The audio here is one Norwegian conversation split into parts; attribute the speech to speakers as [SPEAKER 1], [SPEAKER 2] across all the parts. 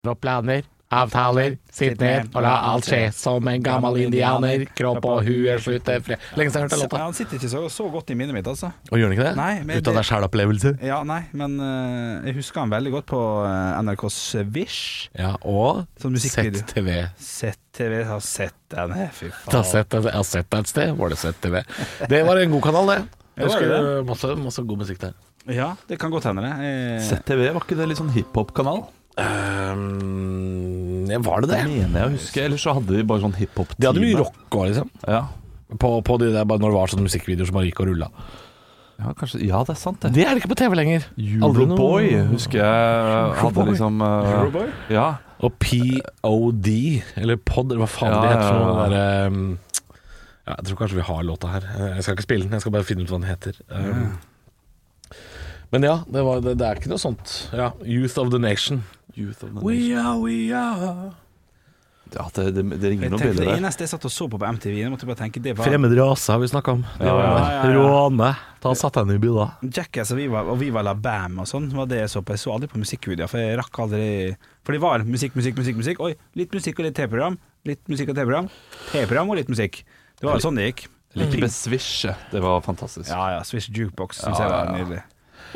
[SPEAKER 1] Rå planer, avtaler, sitt ned og la alt skje. Som en gammel indianer, kropp og hue slutter fred Lenge siden jeg hørte
[SPEAKER 2] Så,
[SPEAKER 1] låta.
[SPEAKER 2] han sitter ikke så, så godt i minnet mitt, altså.
[SPEAKER 1] Og gjør den ikke det?
[SPEAKER 2] Nei, men
[SPEAKER 1] Ut av
[SPEAKER 2] det-
[SPEAKER 1] deg sjæl-opplevelse?
[SPEAKER 2] Ja, nei, men eh, jeg husker han veldig godt på eh, NRK Swish.
[SPEAKER 1] Ja, og
[SPEAKER 2] Som musikkvideo.
[SPEAKER 1] sett TV.
[SPEAKER 2] ZTV har sett den her, fy
[SPEAKER 1] Da
[SPEAKER 2] faen.
[SPEAKER 1] sett, jeg har sett deg et sted, var det sett TV. Det var en god kanal, det.
[SPEAKER 2] Ja,
[SPEAKER 1] Jeg
[SPEAKER 2] var det
[SPEAKER 1] husker masse, masse god musikk der.
[SPEAKER 2] Ja, det kan godt hende, det.
[SPEAKER 1] Eh.
[SPEAKER 2] Jeg-
[SPEAKER 3] ZTV, var ikke det litt sånn hiphop-kanal?
[SPEAKER 1] Ehm, ja, var det
[SPEAKER 3] Det
[SPEAKER 1] det?
[SPEAKER 3] mener jeg å huske. Ellers så hadde de bare sånn hiphop-time.
[SPEAKER 1] De hadde mye rock òg, liksom.
[SPEAKER 3] Ja.
[SPEAKER 1] På, på de der, bare når det var sånne musikkvideoer som bare gikk og rulla.
[SPEAKER 3] Ja, kanskje, ja, det er sant, det.
[SPEAKER 1] Det er det ikke på TV lenger. Aldri noe-
[SPEAKER 3] Euroboy husker jeg hadde
[SPEAKER 1] Euroboy?
[SPEAKER 3] liksom eh,
[SPEAKER 2] Euroboy?
[SPEAKER 3] Ja.
[SPEAKER 1] Og POD, eller POD, eller hva faen
[SPEAKER 3] Ja,
[SPEAKER 1] det heter.
[SPEAKER 3] ja,
[SPEAKER 1] for noe
[SPEAKER 3] ja.
[SPEAKER 1] der, ehm, ja, jeg tror kanskje vi har låta her. Eh, Jeg skal ikke spille den, jeg skal bare finne ut hva den heter. Ehm, Men ja, det, var, det, det er ikke noe sånt. Ja, Youth of the Nation.
[SPEAKER 3] Youth of the Nation.
[SPEAKER 1] We are, we are
[SPEAKER 3] Ja, det, det, det ringer
[SPEAKER 2] Jeg
[SPEAKER 3] noen
[SPEAKER 2] tenkte Det
[SPEAKER 3] bjeller der.
[SPEAKER 2] eneste jeg satt og så på på MTV, jeg måtte bare tenke det var
[SPEAKER 1] Fremmed rase har vi snakka om. De
[SPEAKER 3] Ja,
[SPEAKER 1] var
[SPEAKER 2] ja, ja, ja.
[SPEAKER 1] Råne. Da satte jeg den i billa.
[SPEAKER 2] Jackass og Viva, og Viva La Bam og sånn var det jeg så på. Jeg så aldri på musikkvideoer, for jeg rakk aldri For det var musikk, musikk, musikk. musikk Oi, litt musikk og litt TV-program. Litt musikk og TV-program. TV-program og litt musikk. Det var sånn det gikk.
[SPEAKER 3] Like med Swish. ja. Det var fantastisk.
[SPEAKER 2] Ja ja, Swish Jukebox syns
[SPEAKER 3] Ja,
[SPEAKER 2] jeg
[SPEAKER 3] ja,
[SPEAKER 2] var
[SPEAKER 3] ja.
[SPEAKER 2] nydelig.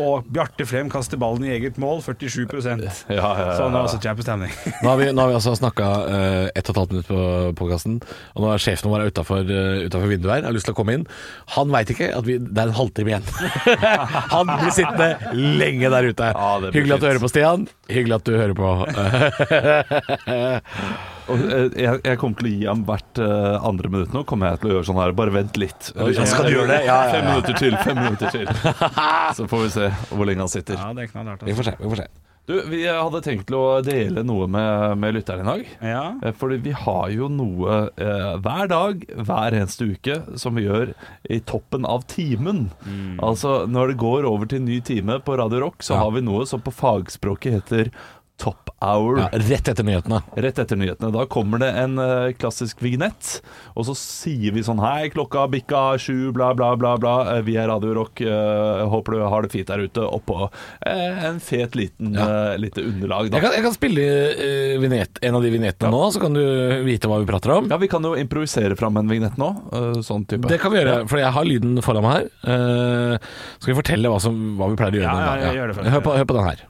[SPEAKER 2] Og Bjarte Frem kaster ballen i eget mål, 47
[SPEAKER 3] Ja, ja, ja.
[SPEAKER 1] altså.
[SPEAKER 2] Sånn var også kjempestemning.
[SPEAKER 1] Nå har vi, nå har vi altså snakka uh, ett og et halvt minutt på podkasten, og nå er sjefen vår utafor vinduet her, har lyst til å komme inn. Han veit ikke at vi, det er en halvtime igjen. Han blir sittende lenge der ute.
[SPEAKER 3] Ja, det blir
[SPEAKER 1] hyggelig at du
[SPEAKER 3] fint.
[SPEAKER 1] hører på, Stian. Hyggelig at du hører på.
[SPEAKER 3] Og, eh, jeg, jeg kommer til å gi ham hvert eh, andre minutt nå. Kommer jeg til å gjøre sånn her Bare vent litt. Eller
[SPEAKER 1] ja,
[SPEAKER 3] sånn,
[SPEAKER 1] skal du gjøre det? Ja, ja, ja.
[SPEAKER 3] Fem minutter til, fem minutter til. Så får vi se hvor lenge han sitter.
[SPEAKER 2] Ja, det er knallhardt.
[SPEAKER 1] vi
[SPEAKER 2] Altså.
[SPEAKER 1] får se, vi får se.
[SPEAKER 3] Du, vi eh, hadde tenkt til å dele noe med, med lytteren i dag.
[SPEAKER 2] Ja.
[SPEAKER 3] Eh, Fordi vi har jo noe eh, hver dag, hver eneste uke, som vi gjør i toppen av timen. Altså, når det går over til ny time på Radio Rock, så
[SPEAKER 1] Mm. Ja.
[SPEAKER 3] har vi noe som på fagspråket heter top hour.
[SPEAKER 1] Ja, rett etter nyhetene.
[SPEAKER 3] Rett etter nyhetene. Da kommer det en eh, klassisk vignett, og så sier vi sånn Hei, klokka bikka sju, bla, bla, bla, bla. Eh, Vi er Radio Rock. eh, håper du har det fint der ute. Oppå eh, en fet liten eh, lite underlag,
[SPEAKER 1] Jeg
[SPEAKER 3] da.
[SPEAKER 1] kan, jeg kan spille eh, vignett, en av de vignettene nå, så kan du vite hva vi prater om.
[SPEAKER 3] Ja, vi kan jo improvisere fram en vignett nå. eh, sånn type.
[SPEAKER 1] Det kan vi gjøre, for jeg har lyden foran meg her. Eh, skal vi fortelle hva, som, hva vi pleier å gjøre?
[SPEAKER 2] Ja,
[SPEAKER 1] med den,
[SPEAKER 2] ja,
[SPEAKER 1] da?
[SPEAKER 2] gjør det først.
[SPEAKER 1] hør, på, hør på den her.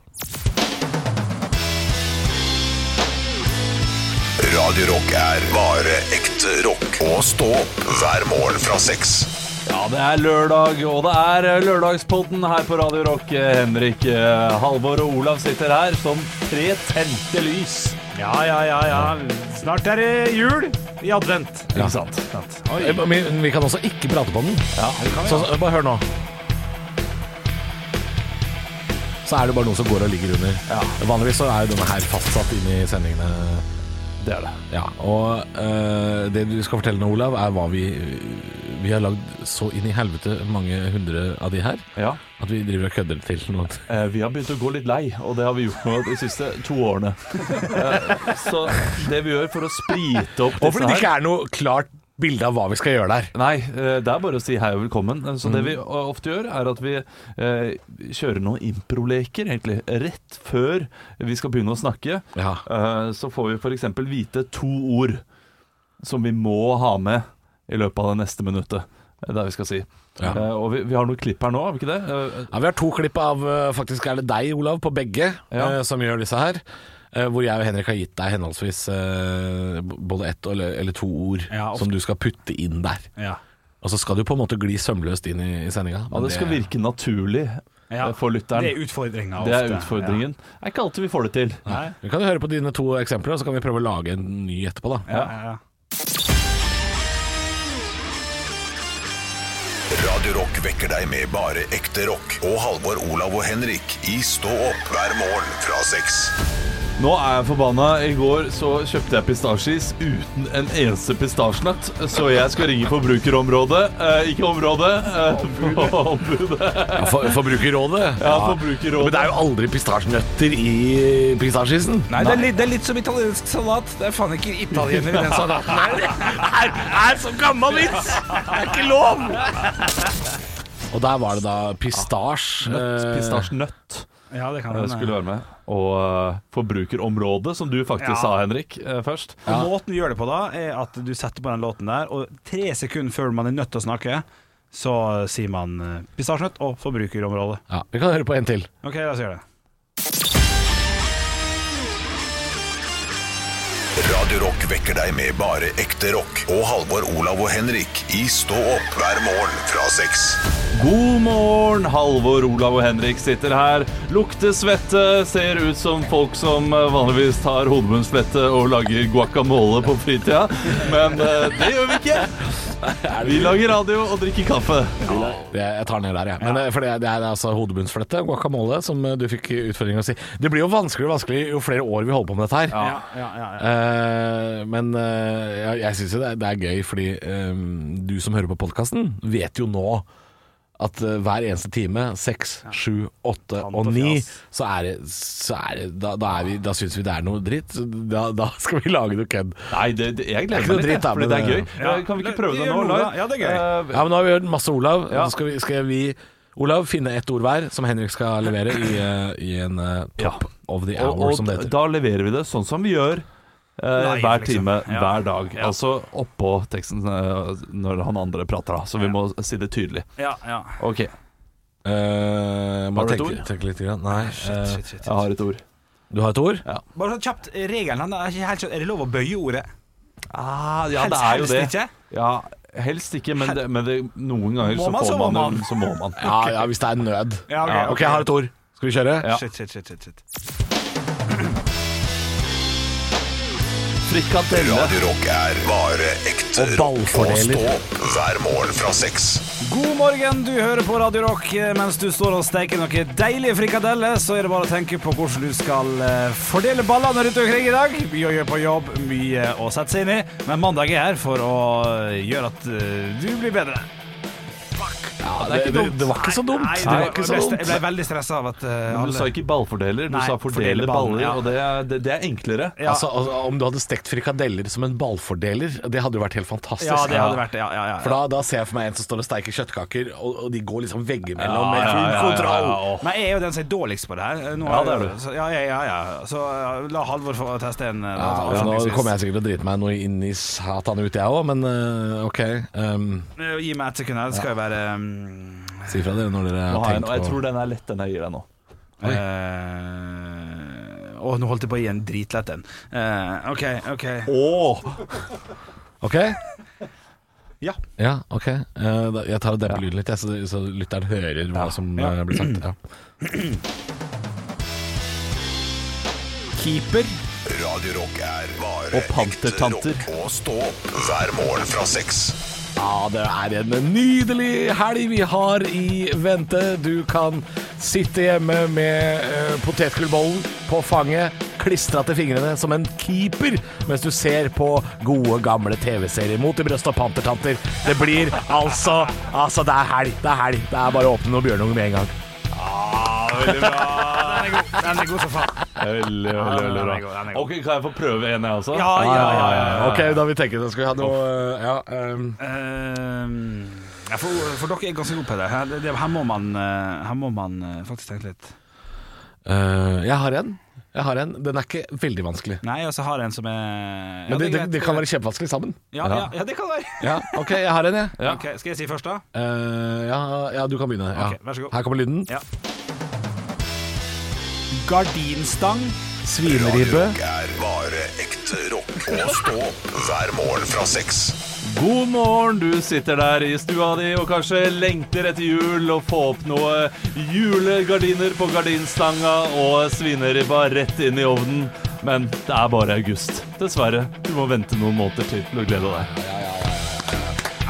[SPEAKER 4] Radio Rock er bare ekte rock. Og stå opp hver morgen fra seks.
[SPEAKER 3] Ja, det er lørdag, og det er eh, lørdagspodden her på Radio Rock. Eh, Henrik, eh, Halvor og Olav sitter her som tre tente lys.
[SPEAKER 2] ja, ja, ja, ja. Snart er det jul i advent.
[SPEAKER 1] Ja.
[SPEAKER 3] Ikke sant?
[SPEAKER 1] Eh, Men vi kan også ikke prate på den.
[SPEAKER 3] Ja,
[SPEAKER 1] Så, så bare hør nå. Så er det bare noen som går og ligger under.
[SPEAKER 3] Ja.
[SPEAKER 1] Vanligvis så er jo denne her fastsatt inn i sendingene.
[SPEAKER 3] det er det.
[SPEAKER 1] Ja, og eh, det du skal fortelle nå, Olav, er hva vi Vi har lagd så inn i helvete mange hundre av de her
[SPEAKER 3] Ja.
[SPEAKER 1] at vi driver og kødder til noen.
[SPEAKER 3] Eh, Vi har begynt å gå litt lei, og det har vi gjort nå de siste to årene. Eh, Så det vi gjør for å sprite opp
[SPEAKER 1] Og fordi det
[SPEAKER 3] disse her
[SPEAKER 1] ikke er noe klart bilde av hva vi skal gjøre der.
[SPEAKER 3] Nei, eh, det er bare å si hei og velkommen. Eh, Så det
[SPEAKER 2] Mhm.
[SPEAKER 3] vi o- ofte gjør, er at vi eh, kjører noen improleker, egentlig. Rett før vi skal begynne å snakke,
[SPEAKER 1] Ja.
[SPEAKER 3] eh, så får vi f.eks. vite to ord som vi må ha med i løpet av det neste minuttet. eh, Der vi skal si.
[SPEAKER 1] Ja.
[SPEAKER 3] Eh, Og vi, vi har noen klipp her nå, har vi ikke det? Eh,
[SPEAKER 1] Ja, Vi har to klipp av eh, Faktisk er det deg, Olav, på begge
[SPEAKER 3] Ja.
[SPEAKER 1] eh, som gjør disse her. eh, Hvor jeg og Henrik har gitt deg henholdsvis eh, b- både ett eller, eller to ord
[SPEAKER 2] Ja, ofte.
[SPEAKER 1] som du skal putte inn der.
[SPEAKER 2] Ja.
[SPEAKER 1] Og så skal du på en måte gli sømløst inn i, i sendinga.
[SPEAKER 3] Ja,
[SPEAKER 1] men
[SPEAKER 3] det skal virke naturlig
[SPEAKER 2] Ja.
[SPEAKER 3] eh, for lytteren.
[SPEAKER 2] Det er utfordringa ofte.
[SPEAKER 3] Det er utfordringen. Det er ikke alltid vi får det til.
[SPEAKER 2] Ja. Nei.
[SPEAKER 1] Vi kan jo høre på dine to eksempler, og så kan vi prøve å lage en ny etterpå, da.
[SPEAKER 2] Ja, ja, ja.
[SPEAKER 4] Radio Rock vekker deg med bare ekte rock. Og Halvor, Olav og Henrik i Stå opp hver morgen fra seks.
[SPEAKER 3] Nå er jeg forbanna. I går så kjøpte jeg pistasjeis uten en eneste pistasjenøtt. Så jeg skal ringe Forbrukerområdet eh, Ikke området, eh, ombudet.
[SPEAKER 1] Ja, for, forbrukerrådet.
[SPEAKER 3] Ja,
[SPEAKER 1] Men det
[SPEAKER 3] Forbrukerrådet.
[SPEAKER 1] er jo aldri pistasjenøtter i pistasjisen.
[SPEAKER 2] Nei, Det, er litt, det er litt som italiensk salat. Det er faen ikke italiener i den salaten her.
[SPEAKER 1] er, er så gammel vits! Det er ikke lov! Og der var det da pistasje. eh,
[SPEAKER 3] Pistasjenøtt.
[SPEAKER 2] Ja, det kan
[SPEAKER 3] eh,
[SPEAKER 2] man.
[SPEAKER 3] skulle være med. Og eh, forbrukerområdet, som du faktisk
[SPEAKER 2] Ja.
[SPEAKER 3] sa, Henrik, eh, først.
[SPEAKER 2] Og Måten vi gjør det på da, er at du setter på den låten der, og tre sekunder før man er nødt til å snakke, så sier man eh, pistasjenøtt og forbrukerområdet.
[SPEAKER 1] Ja, vi kan høre på en til.
[SPEAKER 2] Ok, la oss gjøre det.
[SPEAKER 4] Radio Rock vekker deg med bare ekte rock. Og Halvor, Olav og Henrik i Stå opp hver morgen fra seks.
[SPEAKER 3] God morgen! Halvor, Olav og Henrik sitter her. Lukter svette, ser ut som folk som eh, vanligvis tar hodebunnsflette og lager guacamole på fritida. Men eh, det gjør vi ikke. Vi lager radio og drikker kaffe.
[SPEAKER 1] Det, jeg tar ned der, jeg. Men eh, for det, det er altså hodebunnsflette, guacamole, som eh, du fikk utfordring å si. Det blir jo vanskeligere og vanskeligere jo flere år vi holder på med dette her.
[SPEAKER 2] Ja, ja, ja, ja.
[SPEAKER 1] Eh, men eh, jeg, jeg syns jo det er, det er gøy, fordi eh, du som hører på podkasten, vet jo nå at eh, hver eneste time, seks, sju, åtte
[SPEAKER 2] Sant
[SPEAKER 1] og
[SPEAKER 2] og
[SPEAKER 1] ni,
[SPEAKER 2] fjas.
[SPEAKER 1] så er det, så er det Da, da, er vi- da syns vi det er noe dritt. Så Da, da skal vi lage noe kødd.
[SPEAKER 3] Nei, det, det,
[SPEAKER 1] Det
[SPEAKER 3] jeg
[SPEAKER 1] er ikke
[SPEAKER 3] gleder
[SPEAKER 1] noe
[SPEAKER 3] meg litt,
[SPEAKER 1] dritt, da,
[SPEAKER 3] fordi det er gøy.
[SPEAKER 1] men-
[SPEAKER 2] Ja.
[SPEAKER 3] Eh, Kan vi ikke prøve
[SPEAKER 2] Vi
[SPEAKER 3] det
[SPEAKER 2] gjør
[SPEAKER 3] nå?
[SPEAKER 2] noe,
[SPEAKER 3] Olav?
[SPEAKER 2] da. Ja, det er gøy.
[SPEAKER 3] Eh,
[SPEAKER 1] Ja, men nå har vi hørt masse Olav.
[SPEAKER 3] Ja.
[SPEAKER 1] Så skal vi, skal vi Olav finne ett ord hver som Henrik skal levere i, eh, i en eh, top of the
[SPEAKER 3] og,
[SPEAKER 1] hour,
[SPEAKER 3] og
[SPEAKER 1] som det heter.
[SPEAKER 3] da leverer vi det sånn som vi gjør eh,
[SPEAKER 2] Live,
[SPEAKER 3] hver
[SPEAKER 2] liksom.
[SPEAKER 3] time,
[SPEAKER 2] Ja.
[SPEAKER 3] hver dag.
[SPEAKER 2] Ja.
[SPEAKER 3] Altså oppå teksten eh, når han andre prater, da. Så vi må si det tydelig.
[SPEAKER 2] Ja, ja.
[SPEAKER 3] Ok,
[SPEAKER 1] Eh, må
[SPEAKER 3] Har du et
[SPEAKER 1] tenke,
[SPEAKER 3] ord?
[SPEAKER 1] tenke litt. Grann. Nei.
[SPEAKER 2] Shit,
[SPEAKER 1] eh,
[SPEAKER 2] shit, shit.
[SPEAKER 3] jeg har et ord.
[SPEAKER 1] du har et ord?
[SPEAKER 2] Bare sånn kjapt, regelen han er ikke helt sånn Er det lov å bøye ordet?
[SPEAKER 3] Ah, ja,
[SPEAKER 2] Helst-
[SPEAKER 3] det er jo
[SPEAKER 2] helst
[SPEAKER 3] det.
[SPEAKER 2] ikke.
[SPEAKER 3] Ja, helst ikke, men, det, men det, noen ganger
[SPEAKER 2] Må
[SPEAKER 3] så,
[SPEAKER 2] man,
[SPEAKER 3] får
[SPEAKER 2] så må
[SPEAKER 3] man,
[SPEAKER 2] man.
[SPEAKER 3] det, så må man.
[SPEAKER 1] Ja, ja, hvis det er nød.
[SPEAKER 2] Ja, ok,
[SPEAKER 1] Ja, ok, jeg har et ord. Skal vi kjøre?
[SPEAKER 3] Ja.
[SPEAKER 2] Shit, shit, shit, shit, shit.
[SPEAKER 3] Frikadelle.
[SPEAKER 4] Radio Rock er bare ekte
[SPEAKER 1] Og
[SPEAKER 4] rock. Og
[SPEAKER 1] ballfordeler.
[SPEAKER 4] stå opp hver morgen fra seks.
[SPEAKER 2] God morgen, du hører på Radio Rock. Eh, Mens du står og steker noen deilige frikadeller, så er det bare å tenke på hvordan du skal eh, fordele ballene rundt omkring i dag. Mye å gjøre på jobb, mye å sette seg inn i. Men mandag er her for å gjøre at eh, du blir bedre.
[SPEAKER 1] Ja, det,
[SPEAKER 3] det er ikke
[SPEAKER 1] det,
[SPEAKER 3] dumt.
[SPEAKER 1] det var ikke så dumt.
[SPEAKER 2] Nei,
[SPEAKER 1] det
[SPEAKER 2] det
[SPEAKER 1] var
[SPEAKER 2] var
[SPEAKER 1] ikke så
[SPEAKER 2] jeg ble-
[SPEAKER 1] dumt.
[SPEAKER 2] Jeg ble veldig stressa av at eh,
[SPEAKER 3] Men du
[SPEAKER 2] alle
[SPEAKER 3] sa ikke ballfordeler, du
[SPEAKER 2] Nei,
[SPEAKER 3] sa fordele
[SPEAKER 2] fordele ballen,
[SPEAKER 3] baller,
[SPEAKER 2] ja.
[SPEAKER 3] og det er, det, det er enklere.
[SPEAKER 2] Ja.
[SPEAKER 1] Altså, altså, om du hadde stekt frikadeller som en ballfordeler, det hadde jo vært helt fantastisk.
[SPEAKER 2] Ja, det hadde vært det. Ja, ja, ja.
[SPEAKER 1] For da, da ser jeg for meg en som står og steiker kjøttkaker, og, og de går liksom veggimellom
[SPEAKER 3] Ja,
[SPEAKER 1] med
[SPEAKER 3] ja,
[SPEAKER 1] full
[SPEAKER 3] ja, ja,
[SPEAKER 1] kontroll.
[SPEAKER 3] ja, ja.
[SPEAKER 2] Men jeg er jo den som er dårligst på det her. Nå
[SPEAKER 3] Ja,
[SPEAKER 2] har-
[SPEAKER 3] det er du.
[SPEAKER 2] Så, ja, ja, ja, ja. så ja, la Halvor få teste en. eh,
[SPEAKER 1] Ja, nå
[SPEAKER 2] avslutningsvis.
[SPEAKER 1] kommer jeg sikkert til å drite meg noe inn i satan ut, jeg òg, men eh, OK. ehm,
[SPEAKER 2] Eh, Gi meg ett sekund her, det skal jo være um,
[SPEAKER 1] si fra dere når dere har
[SPEAKER 3] Nå har jeg,
[SPEAKER 1] tenkt
[SPEAKER 3] en- og jeg
[SPEAKER 1] på
[SPEAKER 3] tror den er lett, den jeg gir deg nå.
[SPEAKER 1] Oi.
[SPEAKER 2] eh, Å, nå holdt jeg på å gi en dritlett en. Eh, OK, OK.
[SPEAKER 1] OK?
[SPEAKER 2] Ja.
[SPEAKER 1] Ja, OK. Eh, da- jeg tar og demper lyden litt, jeg, så, så lytteren hører hva som
[SPEAKER 2] Ja.
[SPEAKER 1] eh, blir sagt. Ja.
[SPEAKER 2] Keeper.
[SPEAKER 4] Radio Rock er bare
[SPEAKER 3] Og pantertanter.
[SPEAKER 4] ekte rock. Og stå opp hver morgen fra seks.
[SPEAKER 1] Ja, det er en nydelig helg vi har i vente. Du kan sitte hjemme med eh, potetgullbollen på fanget, klistra til fingrene som en keeper, mens du ser på gode, gamle TV-serier mot i brøst og pantertanter. Det blir altså Altså, det er helg. Det er helg. Det er bare å åpne noen bjørnunger med en gang.
[SPEAKER 2] Den er god, den er god som faen.
[SPEAKER 3] Veldig,
[SPEAKER 2] veldig den er bra. god, den er god.
[SPEAKER 3] Ok, Kan jeg få prøve en, jeg også?
[SPEAKER 2] Ja, ja, ja. ja.
[SPEAKER 1] OK, da vi tenker det. Skal vi ha noe eh, Ja. ehm,
[SPEAKER 2] Eh, ja, for, for dere er ganske gode på det. Her, det, her må man, eh, her må man eh, faktisk tenke litt.
[SPEAKER 1] eh, jeg har en. Jeg har en. Den er ikke veldig vanskelig.
[SPEAKER 2] Nei, og så har jeg en som
[SPEAKER 1] Men
[SPEAKER 2] er
[SPEAKER 1] det,
[SPEAKER 2] Ja,
[SPEAKER 1] det,
[SPEAKER 2] er greit,
[SPEAKER 1] det kan
[SPEAKER 2] er
[SPEAKER 1] være kjempevanskelig sammen.
[SPEAKER 2] greit. ja, ja, ja, det kan være.
[SPEAKER 1] Ja, OK, jeg har en, jeg.
[SPEAKER 3] Ja.
[SPEAKER 2] Ok, skal jeg si først, da?
[SPEAKER 1] Eh, ja, ja, du kan begynne. Ja.
[SPEAKER 2] Ok, vær så god.
[SPEAKER 1] Her kommer lyden.
[SPEAKER 2] Ja. Gardinstang.
[SPEAKER 4] Radio
[SPEAKER 1] Svineribbe.
[SPEAKER 4] Rock er bare ekte rock. Og stå opp hver morgen fra seks.
[SPEAKER 3] God morgen, du sitter der i stua di og kanskje lengter etter jul og få opp noe julegardiner på gardinstanga og svineribba rett inn i ovnen. Men det er bare august. Dessverre. Du må vente noen måneder til til å glede deg.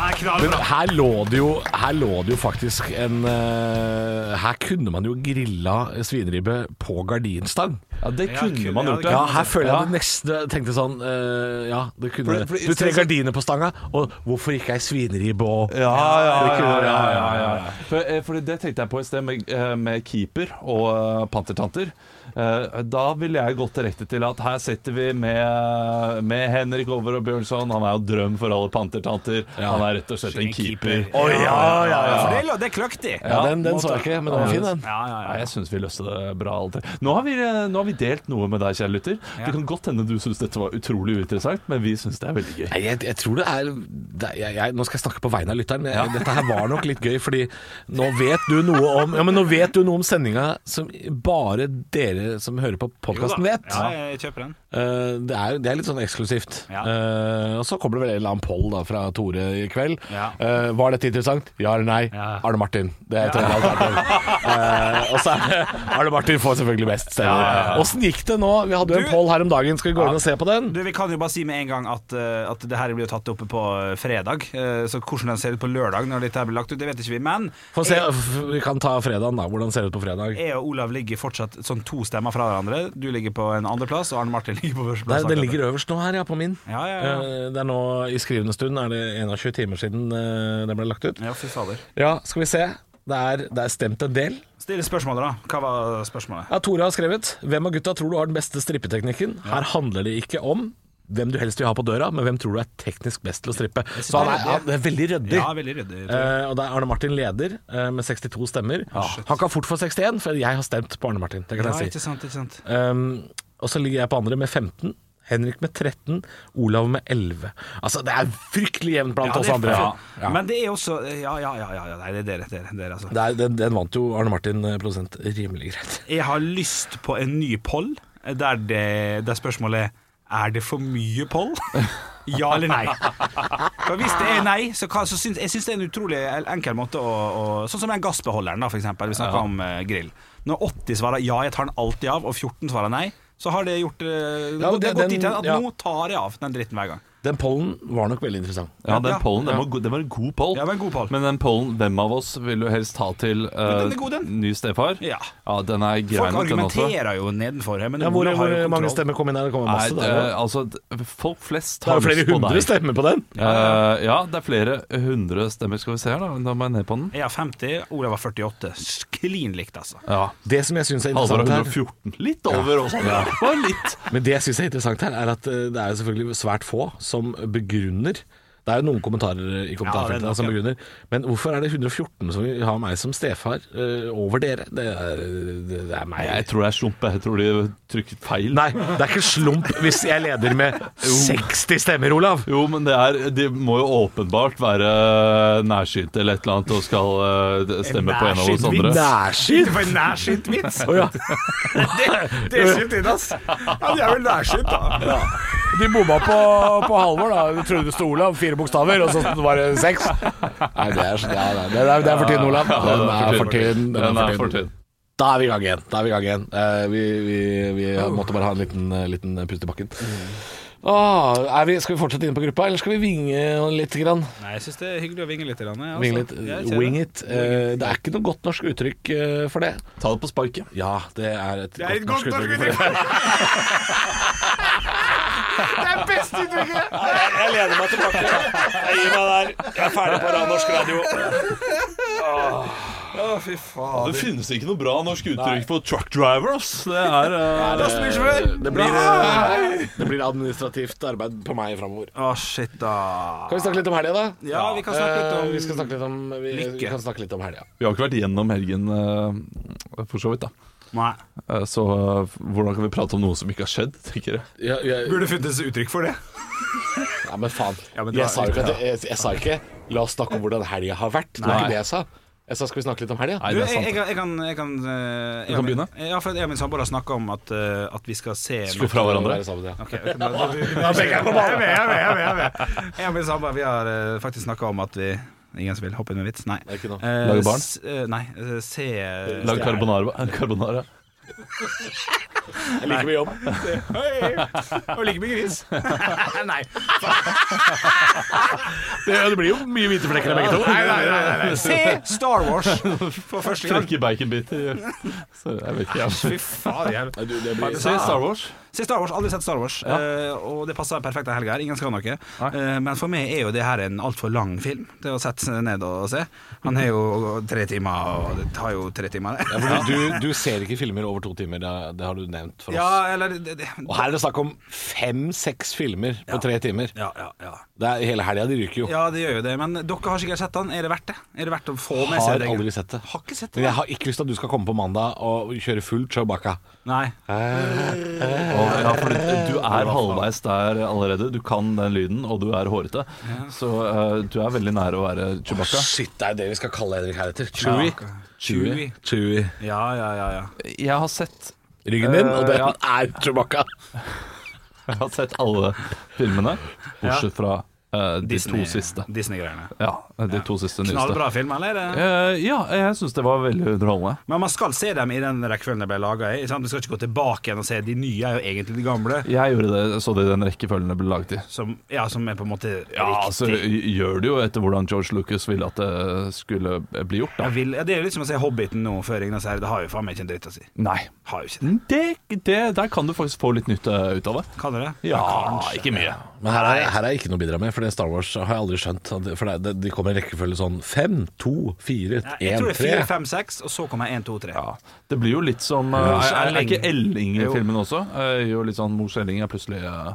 [SPEAKER 2] Er
[SPEAKER 1] Men
[SPEAKER 2] knallbra.
[SPEAKER 1] her lå det jo, her lå det jo faktisk en eh, Her kunne man jo grilla svineribbe på gardinstang.
[SPEAKER 3] Ja, det
[SPEAKER 2] Ja,
[SPEAKER 3] kunne
[SPEAKER 2] kunne-
[SPEAKER 3] man
[SPEAKER 2] ja,
[SPEAKER 3] gjort.
[SPEAKER 2] det
[SPEAKER 1] Ja,
[SPEAKER 2] kunne
[SPEAKER 1] her føler jeg
[SPEAKER 3] Ja.
[SPEAKER 1] at det neste tenkte sånn eh, Ja, det kunne
[SPEAKER 3] Fordi- fordi-
[SPEAKER 1] Du trenger gardiner på stanga, og hvorfor ikke ei svineribbe og
[SPEAKER 3] Ja, ja,
[SPEAKER 1] Det kunne-
[SPEAKER 3] ja, ja, ja, ja. For, eh, fordi det tenkte jeg på i sted med, eh, med keeper og eh, pantertanter. Eh, Da ville jeg gått direkte til at her sitter vi med, med Henrik Over og Bjørnson. Han er jo drøm for alle pantertanter. Han er rett og slett en keeper.
[SPEAKER 1] Å ja, ja, ja.
[SPEAKER 2] For det, lå- det kløkk de.
[SPEAKER 1] ja den, den så jeg ikke, men den var fin, den.
[SPEAKER 2] Ja, ja,
[SPEAKER 3] Nei,
[SPEAKER 2] ja.
[SPEAKER 3] jeg syns vi løste det bra. Alt. det. Nå har, vi, eh, nå har vi delt noe med deg, kjære lytter.
[SPEAKER 2] Ja.
[SPEAKER 3] Det kan godt hende du syns dette var utrolig uinteressant, men vi syns det er veldig gøy.
[SPEAKER 1] Nei, jeg, jeg tror det er, det er jeg, jeg, Nå skal jeg snakke på vegne av lytteren. Jeg, Dette her var nok litt gøy, fordi nå vet du noe om Ja, men nå vet du noe om sendinga som bare dere som hører på podkasten, vet.
[SPEAKER 2] Ja, jeg kjøper den.
[SPEAKER 1] Eh, det, er, det er litt sånn eksklusivt.
[SPEAKER 2] Ja.
[SPEAKER 1] Eh, og så kommer det vel en eller annen poll da, fra Tore i kveld.
[SPEAKER 2] Ja.
[SPEAKER 1] Eh, var dette interessant? Ja eller nei?
[SPEAKER 2] Ja.
[SPEAKER 1] Arne Martin. Det er tredje alternativ. Eh, og så er det Arne Martin får selvfølgelig best stemmer. Åssen gikk det nå? Vi hadde jo en
[SPEAKER 2] Du-
[SPEAKER 1] poll her om dagen. Skal vi gå inn og se på den?
[SPEAKER 2] Du, Vi kan jo bare si med en gang at, eh, at det her blir jo tatt opp på eh, fredag. eh, Så hvordan den ser ut på lørdag når dette her blir lagt ut, det vet ikke vi. Men
[SPEAKER 1] Få se, f- vi kan ta fredagen da, hvordan ser det ut på fredag
[SPEAKER 2] jeg og Olav ligger fortsatt sånn to stemmer fra hverandre. Du ligger på en andreplass, og Arne Martin ligger på
[SPEAKER 1] Nei,
[SPEAKER 2] førsteplass.
[SPEAKER 1] den ligger øverst nå her, ja, på min
[SPEAKER 2] Ja, ja, ja.
[SPEAKER 1] Eh, Det er nå i skrivende stund, er det 21 timer siden eh, den ble lagt ut
[SPEAKER 2] Ja, fy fader.
[SPEAKER 1] Ja, skal vi se det er, det er stemt en del
[SPEAKER 2] Still spørsmålet, da. Hva var spørsmålet?
[SPEAKER 1] ja, Tore har skrevet Hvem av gutta tror du har den beste strippeteknikken? Her handler det ikke om hvem du helst vil ha på døra Men hvem tror du er teknisk best til å strippe Så han er, han er veldig røddig
[SPEAKER 2] Ja, veldig ryddig.
[SPEAKER 1] Eh, og da er Arne Martin leder eh, med 62 stemmer Han kan fort få 61 For jeg har stemt på Arne Martin Det kan
[SPEAKER 2] Ja,
[SPEAKER 1] jeg si
[SPEAKER 2] ikke sant, ikke sant.
[SPEAKER 1] Um, og så ligger jeg på andre med 15. Henrik med 13, Olav med 11. Altså, det er fryktelig jevnt blant
[SPEAKER 2] Ja, det
[SPEAKER 1] oss
[SPEAKER 2] er
[SPEAKER 1] andre.
[SPEAKER 2] fint.
[SPEAKER 1] Ja.
[SPEAKER 2] Men det er også eh, Ja, ja, ja, ja, ja nei, det er dere, dere, dere altså.
[SPEAKER 1] Det er, den, den vant jo Arne Martin, eh, produsent, rimelig greit.
[SPEAKER 2] Jeg har lyst på en ny poll eh, der, det, der spørsmålet er Er det for mye poll? Ja eller nei? For Hvis det er nei, så, kan, så syns jeg syns det er en utrolig enkel måte å, å Sånn som den gassbeholderen, da, for eksempel. Vi snakker om eh, grill. Når 80 svarer ja, jeg tar den alltid av, og 14 svarer nei, så har det gjort eh, Det
[SPEAKER 1] Ja,
[SPEAKER 2] har gått-
[SPEAKER 1] det-
[SPEAKER 2] det har gått
[SPEAKER 1] den-
[SPEAKER 2] dit hen at
[SPEAKER 1] ja.
[SPEAKER 2] nå tar jeg av den dritten hver gang.
[SPEAKER 1] Den pollen var nok veldig interessant.
[SPEAKER 3] Ja, den
[SPEAKER 2] Ja.
[SPEAKER 3] pollen, den var, go- det var en god poll.
[SPEAKER 2] Ja, det var en god poll.
[SPEAKER 3] Men den pollen, hvem av oss vil du helst ha til eh,
[SPEAKER 2] den er god, den.
[SPEAKER 3] ny stefar?
[SPEAKER 2] Ja.
[SPEAKER 3] den er grei
[SPEAKER 2] Folk
[SPEAKER 3] nok, den også.
[SPEAKER 2] argumenterer jo nedenfor her, men
[SPEAKER 1] Ja, hvor
[SPEAKER 2] Ola har
[SPEAKER 1] hvor
[SPEAKER 2] jo
[SPEAKER 1] mange
[SPEAKER 2] kontroll.
[SPEAKER 1] stemmer kom inn her? Det kommer
[SPEAKER 3] Nei,
[SPEAKER 1] masse.
[SPEAKER 3] det,
[SPEAKER 1] der, ja.
[SPEAKER 3] altså, d- folk flest
[SPEAKER 1] det er
[SPEAKER 3] har
[SPEAKER 1] jo flere
[SPEAKER 3] lyst på
[SPEAKER 1] hundre
[SPEAKER 3] deg.
[SPEAKER 1] stemmer på den.
[SPEAKER 3] Eh, ja, det er flere hundre stemmer. Skal vi se her, da. Da må jeg ned på den.
[SPEAKER 2] Jeg har 50, Olav har 48. Klin likt, altså.
[SPEAKER 3] Ja.
[SPEAKER 1] Det som jeg syns er
[SPEAKER 3] Halvor
[SPEAKER 1] interessant
[SPEAKER 3] er
[SPEAKER 1] her,
[SPEAKER 3] 114. Litt over også. Ja. Bare litt.
[SPEAKER 1] men det jeg synes er interessant her, er at eh, det er jo selvfølgelig svært få som begrunner det er jo noen kommentarer i
[SPEAKER 2] det er
[SPEAKER 1] kommentarfeltene
[SPEAKER 2] nok,
[SPEAKER 1] som
[SPEAKER 2] ja.
[SPEAKER 1] begrunner, men hvorfor er det 114 som vil ha meg som stefar eh, over dere? Det er, det, det er meg.
[SPEAKER 3] Jeg tror det er slump. Jeg tror de trykket feil.
[SPEAKER 1] Nei, det er ikke slump hvis jeg leder med 60 stemmer, Olav.
[SPEAKER 3] Jo, men det er, de må jo åpenbart være eh, nærsynte eller et eller annet og skal eh, stemme på en av oss
[SPEAKER 2] Nærsynt
[SPEAKER 3] andre.
[SPEAKER 2] vits.
[SPEAKER 1] Nærsynt?
[SPEAKER 2] var en nærsynt vits!
[SPEAKER 1] Å ja.
[SPEAKER 2] Det er synt inn, ass. Ja, det er vel nærsynt, da.
[SPEAKER 1] De bomma på, på Halvor, da. Du trodde det sto Olav, fire bokstaver, og så var det seks. Nei, det er, det er, det er, det er for tynn, Olav.
[SPEAKER 3] Ja,
[SPEAKER 1] Den er for tynn.
[SPEAKER 3] Den er for tynn.
[SPEAKER 1] Da er vi i gang igjen. Da er vi i gang igjen. Eh, vi, vi, vi måtte bare ha en liten, eh, liten pust i bakken. Åh, er vi, skal vi fortsette inne på gruppa, eller skal vi vinge litt? Grann?
[SPEAKER 2] Nei, jeg syns det er hyggelig å vinge litt. Rann, jeg, altså.
[SPEAKER 1] Vinge litt.
[SPEAKER 2] Jeg ser
[SPEAKER 1] Wing
[SPEAKER 2] det.
[SPEAKER 1] it. Eh, det er ikke noe godt norsk uttrykk eh, for det.
[SPEAKER 3] Ta det på sparket.
[SPEAKER 1] Ja, det er et,
[SPEAKER 2] Det er et godt norsk
[SPEAKER 1] for det.
[SPEAKER 5] Jeg lener meg tilbake. Jeg gir meg der. Jeg er ferdig på norsk radio.
[SPEAKER 2] Å, fy faen.
[SPEAKER 3] Det finnes ikke noe bra norsk uttrykk for truck driver, ass. Det er eh,
[SPEAKER 1] Det blir, eh, det blir administrativt arbeid på meg framover.
[SPEAKER 2] Å, shit, da.
[SPEAKER 1] Kan vi snakke litt om helga, da?
[SPEAKER 2] Ja, vi kan snakke litt
[SPEAKER 1] Eh,
[SPEAKER 2] om
[SPEAKER 1] vi skal snakke litt om, vi, vi
[SPEAKER 2] Lykke.
[SPEAKER 1] kan snakke litt om helga.
[SPEAKER 3] Vi har ikke vært gjennom helgen, eh, for så vidt, da.
[SPEAKER 2] Nei.
[SPEAKER 3] Eh, Så eh, hvordan kan vi prate om noe som ikke har skjedd, tenker jeg.
[SPEAKER 1] Ja, ja,
[SPEAKER 2] Burde funnes uttrykk for det.
[SPEAKER 1] ja, men faen.
[SPEAKER 2] Ja, men det
[SPEAKER 1] jeg, sa
[SPEAKER 2] var-
[SPEAKER 1] jo ikke, at- jeg, jeg sa ikke 'la oss snakke om hvordan helga har vært'. Det var ikke det jeg sa. Jeg sa 'skal vi snakke litt om helga'?
[SPEAKER 3] Nei,
[SPEAKER 2] Du,
[SPEAKER 3] det
[SPEAKER 2] jeg,
[SPEAKER 3] er
[SPEAKER 2] jeg,
[SPEAKER 3] sant.
[SPEAKER 2] kan- jeg kan Jeg kan, eh, jeg
[SPEAKER 3] kan
[SPEAKER 2] og min-
[SPEAKER 3] begynne.
[SPEAKER 2] Ja, for jeg og min samboer har snakka om at, eh, at vi skal se
[SPEAKER 3] Slå fra hverandre.
[SPEAKER 1] Være sammen, ja.
[SPEAKER 2] Ok, ok, da- da- Jeg er med, jeg er med, jeg er med, jeg er med. Jeg og min samboer vi har eh, faktisk snakka om at vi Ingen som vil hoppe inn med vits? Nei.
[SPEAKER 1] Det er ikke noe.
[SPEAKER 2] Eh,
[SPEAKER 3] Lage barn?
[SPEAKER 2] s- eh, nei. eh, se
[SPEAKER 3] Lag carbonara. carbonara.
[SPEAKER 1] Jeg liker mye jobb.
[SPEAKER 2] Hei, Og ligge med gris. nei.
[SPEAKER 1] Det, det blir jo mye hvite flekker av begge to.
[SPEAKER 2] Nei, nei, nei, nei, nei. Se Star Wars for første gang.
[SPEAKER 3] Trekke baconbiter. Så jeg vet ikke, jeg.
[SPEAKER 2] Fy faen, jeg
[SPEAKER 1] Nei, du, det blir,
[SPEAKER 3] Se Star Wars.
[SPEAKER 2] Se Star Wars, aldri sett Star Wars. Eh, og det passer perfekt den helga her. Ingen skal noe. Eh, men for meg er jo det her en altfor lang film. Det å sette seg ned og se. Han er jo tre timer, og det tar jo tre timer.
[SPEAKER 1] Ja, for du, du, du ser ikke filmer over to timer, det, det har du nevnt for oss.
[SPEAKER 2] Ja, eller det, det,
[SPEAKER 1] Og her er det snakk om fem-seks filmer på
[SPEAKER 2] Ja.
[SPEAKER 1] tre timer.
[SPEAKER 2] ja, ja, ja.
[SPEAKER 1] Det er, hele helga de ryker jo.
[SPEAKER 2] ja, det gjør jo det. Men dere har sikkert sett den. Er det verdt det? Er det verdt å få med seg
[SPEAKER 1] Har
[SPEAKER 2] det?
[SPEAKER 1] aldri sett det.
[SPEAKER 2] Har ikke sett
[SPEAKER 1] Men
[SPEAKER 2] det?
[SPEAKER 1] jeg har ikke lyst til at du skal komme på mandag og kjøre full Chewbacca.
[SPEAKER 2] Nei.
[SPEAKER 1] Eh,
[SPEAKER 3] Og, ja, for du, du er halvveis der allerede. Du kan den lyden, og du er hårete. Så eh, du er veldig nær å være Chewbacca.
[SPEAKER 1] Shit, det er jo det vi skal kalle Henrik heretter.
[SPEAKER 2] Ja.
[SPEAKER 1] Chewie.
[SPEAKER 2] Chewie. Ja, ja, ja. ja.
[SPEAKER 3] Jeg har sett
[SPEAKER 1] Ryggen din,
[SPEAKER 2] Eh,
[SPEAKER 1] og den
[SPEAKER 3] Ja.
[SPEAKER 1] er Chewbacca.
[SPEAKER 3] Jeg har sett alle filmene, bortsett fra eh, de
[SPEAKER 2] Disney-
[SPEAKER 3] to siste.
[SPEAKER 2] Disney-greiene.
[SPEAKER 3] Ja, de to siste nyeste.
[SPEAKER 2] Knallbra film, eller? er det?
[SPEAKER 3] Eh, ja, jeg syns det var veldig underholdende.
[SPEAKER 2] Men man skal se dem i den rekkefølgen de ble laga i. Sant? Man skal ikke gå tilbake igjen og se de nye er jo egentlig de gamle,
[SPEAKER 3] Jeg gjorde det, så det i den rekkefølgen det ble laget i.
[SPEAKER 2] som, ja, som er på en måte
[SPEAKER 3] Ja, altså,
[SPEAKER 2] riktig.
[SPEAKER 3] gjør det jo etter hvordan George Lucas ville at det skulle bli gjort, da.
[SPEAKER 2] Jeg vil, ja, det er jo litt som å se Hobbiten nå før Ringnes her. Det har jo faen meg ikke en dritt å si.
[SPEAKER 3] Nei.
[SPEAKER 2] Har jo ikke det.
[SPEAKER 3] Det, det, der kan du faktisk få litt nytte ut av det.
[SPEAKER 2] Kan dere?
[SPEAKER 3] Ja, ikke mye.
[SPEAKER 1] Men her er, her er ikke noe å bidra med, for det Star Wars har jeg aldri skjønt. at det- For det, det, De kommer i rekkefølge sånn fem, to, fire,
[SPEAKER 2] Ja, Jeg
[SPEAKER 1] én,
[SPEAKER 2] tror det er fire,
[SPEAKER 1] tre.
[SPEAKER 2] fem, seks, og så kommer én, to, tre.
[SPEAKER 3] Ja, det blir jo litt som eh,
[SPEAKER 2] Mors
[SPEAKER 3] Er, er
[SPEAKER 2] Elling.
[SPEAKER 3] ikke Elling i
[SPEAKER 2] Jo.
[SPEAKER 3] filmen også? Eh, jo, litt sånn Mor Skjelling er plutselig eh,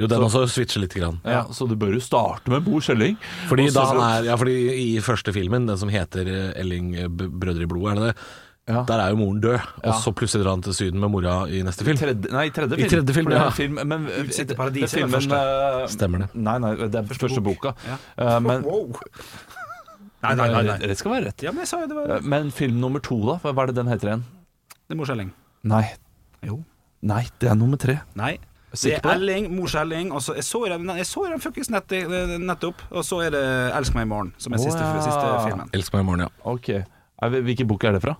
[SPEAKER 1] Jo, den også switcher lite grann.
[SPEAKER 3] ja, Så du bør jo starte med Mor Skjelling.
[SPEAKER 1] Fordi,
[SPEAKER 3] Og så-
[SPEAKER 1] da han er, ja, fordi i første filmen, den som heter eh, Elling eh, B- Brødre i blod, er det det?
[SPEAKER 3] Ja.
[SPEAKER 1] Der er jo moren død, og så plutselig drar han til Syden med mora i neste film.
[SPEAKER 3] Tredje, nei, tredje film.
[SPEAKER 1] I tredje film,
[SPEAKER 3] For det er
[SPEAKER 1] ja.
[SPEAKER 3] en film men,
[SPEAKER 2] Utsikt til
[SPEAKER 3] det-
[SPEAKER 2] paradiset
[SPEAKER 3] det er
[SPEAKER 2] var
[SPEAKER 3] eh,
[SPEAKER 1] Stemmer det.
[SPEAKER 3] Nei, nei, det er første, boka. Eh, men
[SPEAKER 2] Wow. Nei, nei, nei. nei.
[SPEAKER 3] Det skal være rett.
[SPEAKER 2] Ja, men jeg sa jo det var
[SPEAKER 3] Eh, Men film nummer to, da? Hva hva er det den heter igjen?
[SPEAKER 2] Det er morskjelling.
[SPEAKER 3] Nei,
[SPEAKER 2] Jo.
[SPEAKER 3] nei det er nummer tre.
[SPEAKER 2] Nei. Det
[SPEAKER 3] Sikker
[SPEAKER 2] er
[SPEAKER 3] på det?
[SPEAKER 2] Elling, morskjelling, og så Jeg så den, jeg så den fuckings nett, nettopp. Og så er det 'Elsk meg i morgen', som er
[SPEAKER 3] Å,
[SPEAKER 2] siste,
[SPEAKER 3] ja.
[SPEAKER 2] siste filmen.
[SPEAKER 1] Elsk meg i morgen, ja.
[SPEAKER 3] Ok, Eh, Hvilken bok er det fra?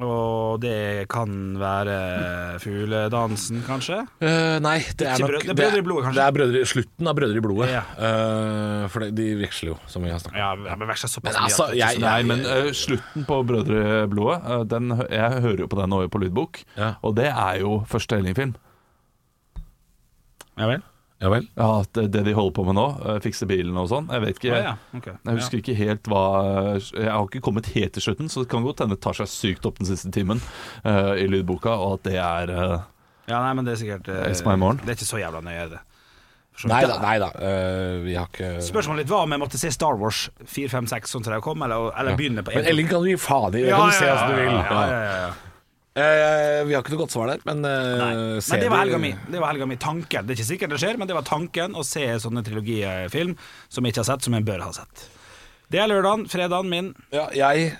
[SPEAKER 2] Og det kan være fugledansen, kanskje?
[SPEAKER 1] Eh, nei, det er
[SPEAKER 2] Ikke
[SPEAKER 1] nok
[SPEAKER 2] brød- det er Brødre i blodet, kanskje?
[SPEAKER 1] Det er brødre, slutten av Brødre i blodet.
[SPEAKER 2] Ja.
[SPEAKER 1] Eh, for det, de veksler jo, som vi har snakket om.
[SPEAKER 2] Ja, men vær så såpass
[SPEAKER 1] Men altså,
[SPEAKER 2] mye at-
[SPEAKER 1] jeg,
[SPEAKER 3] Nei, men eh, slutten på Brødre Blodet eh, den, hø- Jeg hører jo på den over på lydbok,
[SPEAKER 1] Ja.
[SPEAKER 3] og det er jo første Elling-film.
[SPEAKER 2] Ja vel?
[SPEAKER 1] Ja vel?
[SPEAKER 3] Ja, det, det de holder på med nå, eh, fikse bilen og sånn. Jeg vet ikke.
[SPEAKER 2] Å ja, ok.
[SPEAKER 3] Jeg husker ikke helt hva Jeg har ikke kommet helt til slutten, så det kan godt hende det tar seg sykt opp den siste timen eh, i lydboka, og at det er eh,
[SPEAKER 2] Ja, nei, men det er sikkert eh,
[SPEAKER 3] Elsk meg i morgen.
[SPEAKER 2] Det er ikke så jævla nøye, det.
[SPEAKER 1] Nei da, nei da. eh, vi har ikke
[SPEAKER 2] Spørsmålet litt var om jeg måtte se Star Wars 4, 5, 6 sånn som de kom, eller, eller begynne på
[SPEAKER 1] Men Elling kan du gi faen i. Det kan du se som du vil.
[SPEAKER 2] Ja, ja, ja, ja.
[SPEAKER 1] Eh, vi har ikke noe godt svar der, men
[SPEAKER 2] Nei.
[SPEAKER 1] uh,
[SPEAKER 2] Men det var helga mi. Det var helga mi. Tanken. Det er ikke sikkert det skjer, men det var tanken å se sånne trilogifilm som jeg ikke har sett, som jeg bør ha sett. Det er lørdagen. Fredagen min.
[SPEAKER 1] Ja, jeg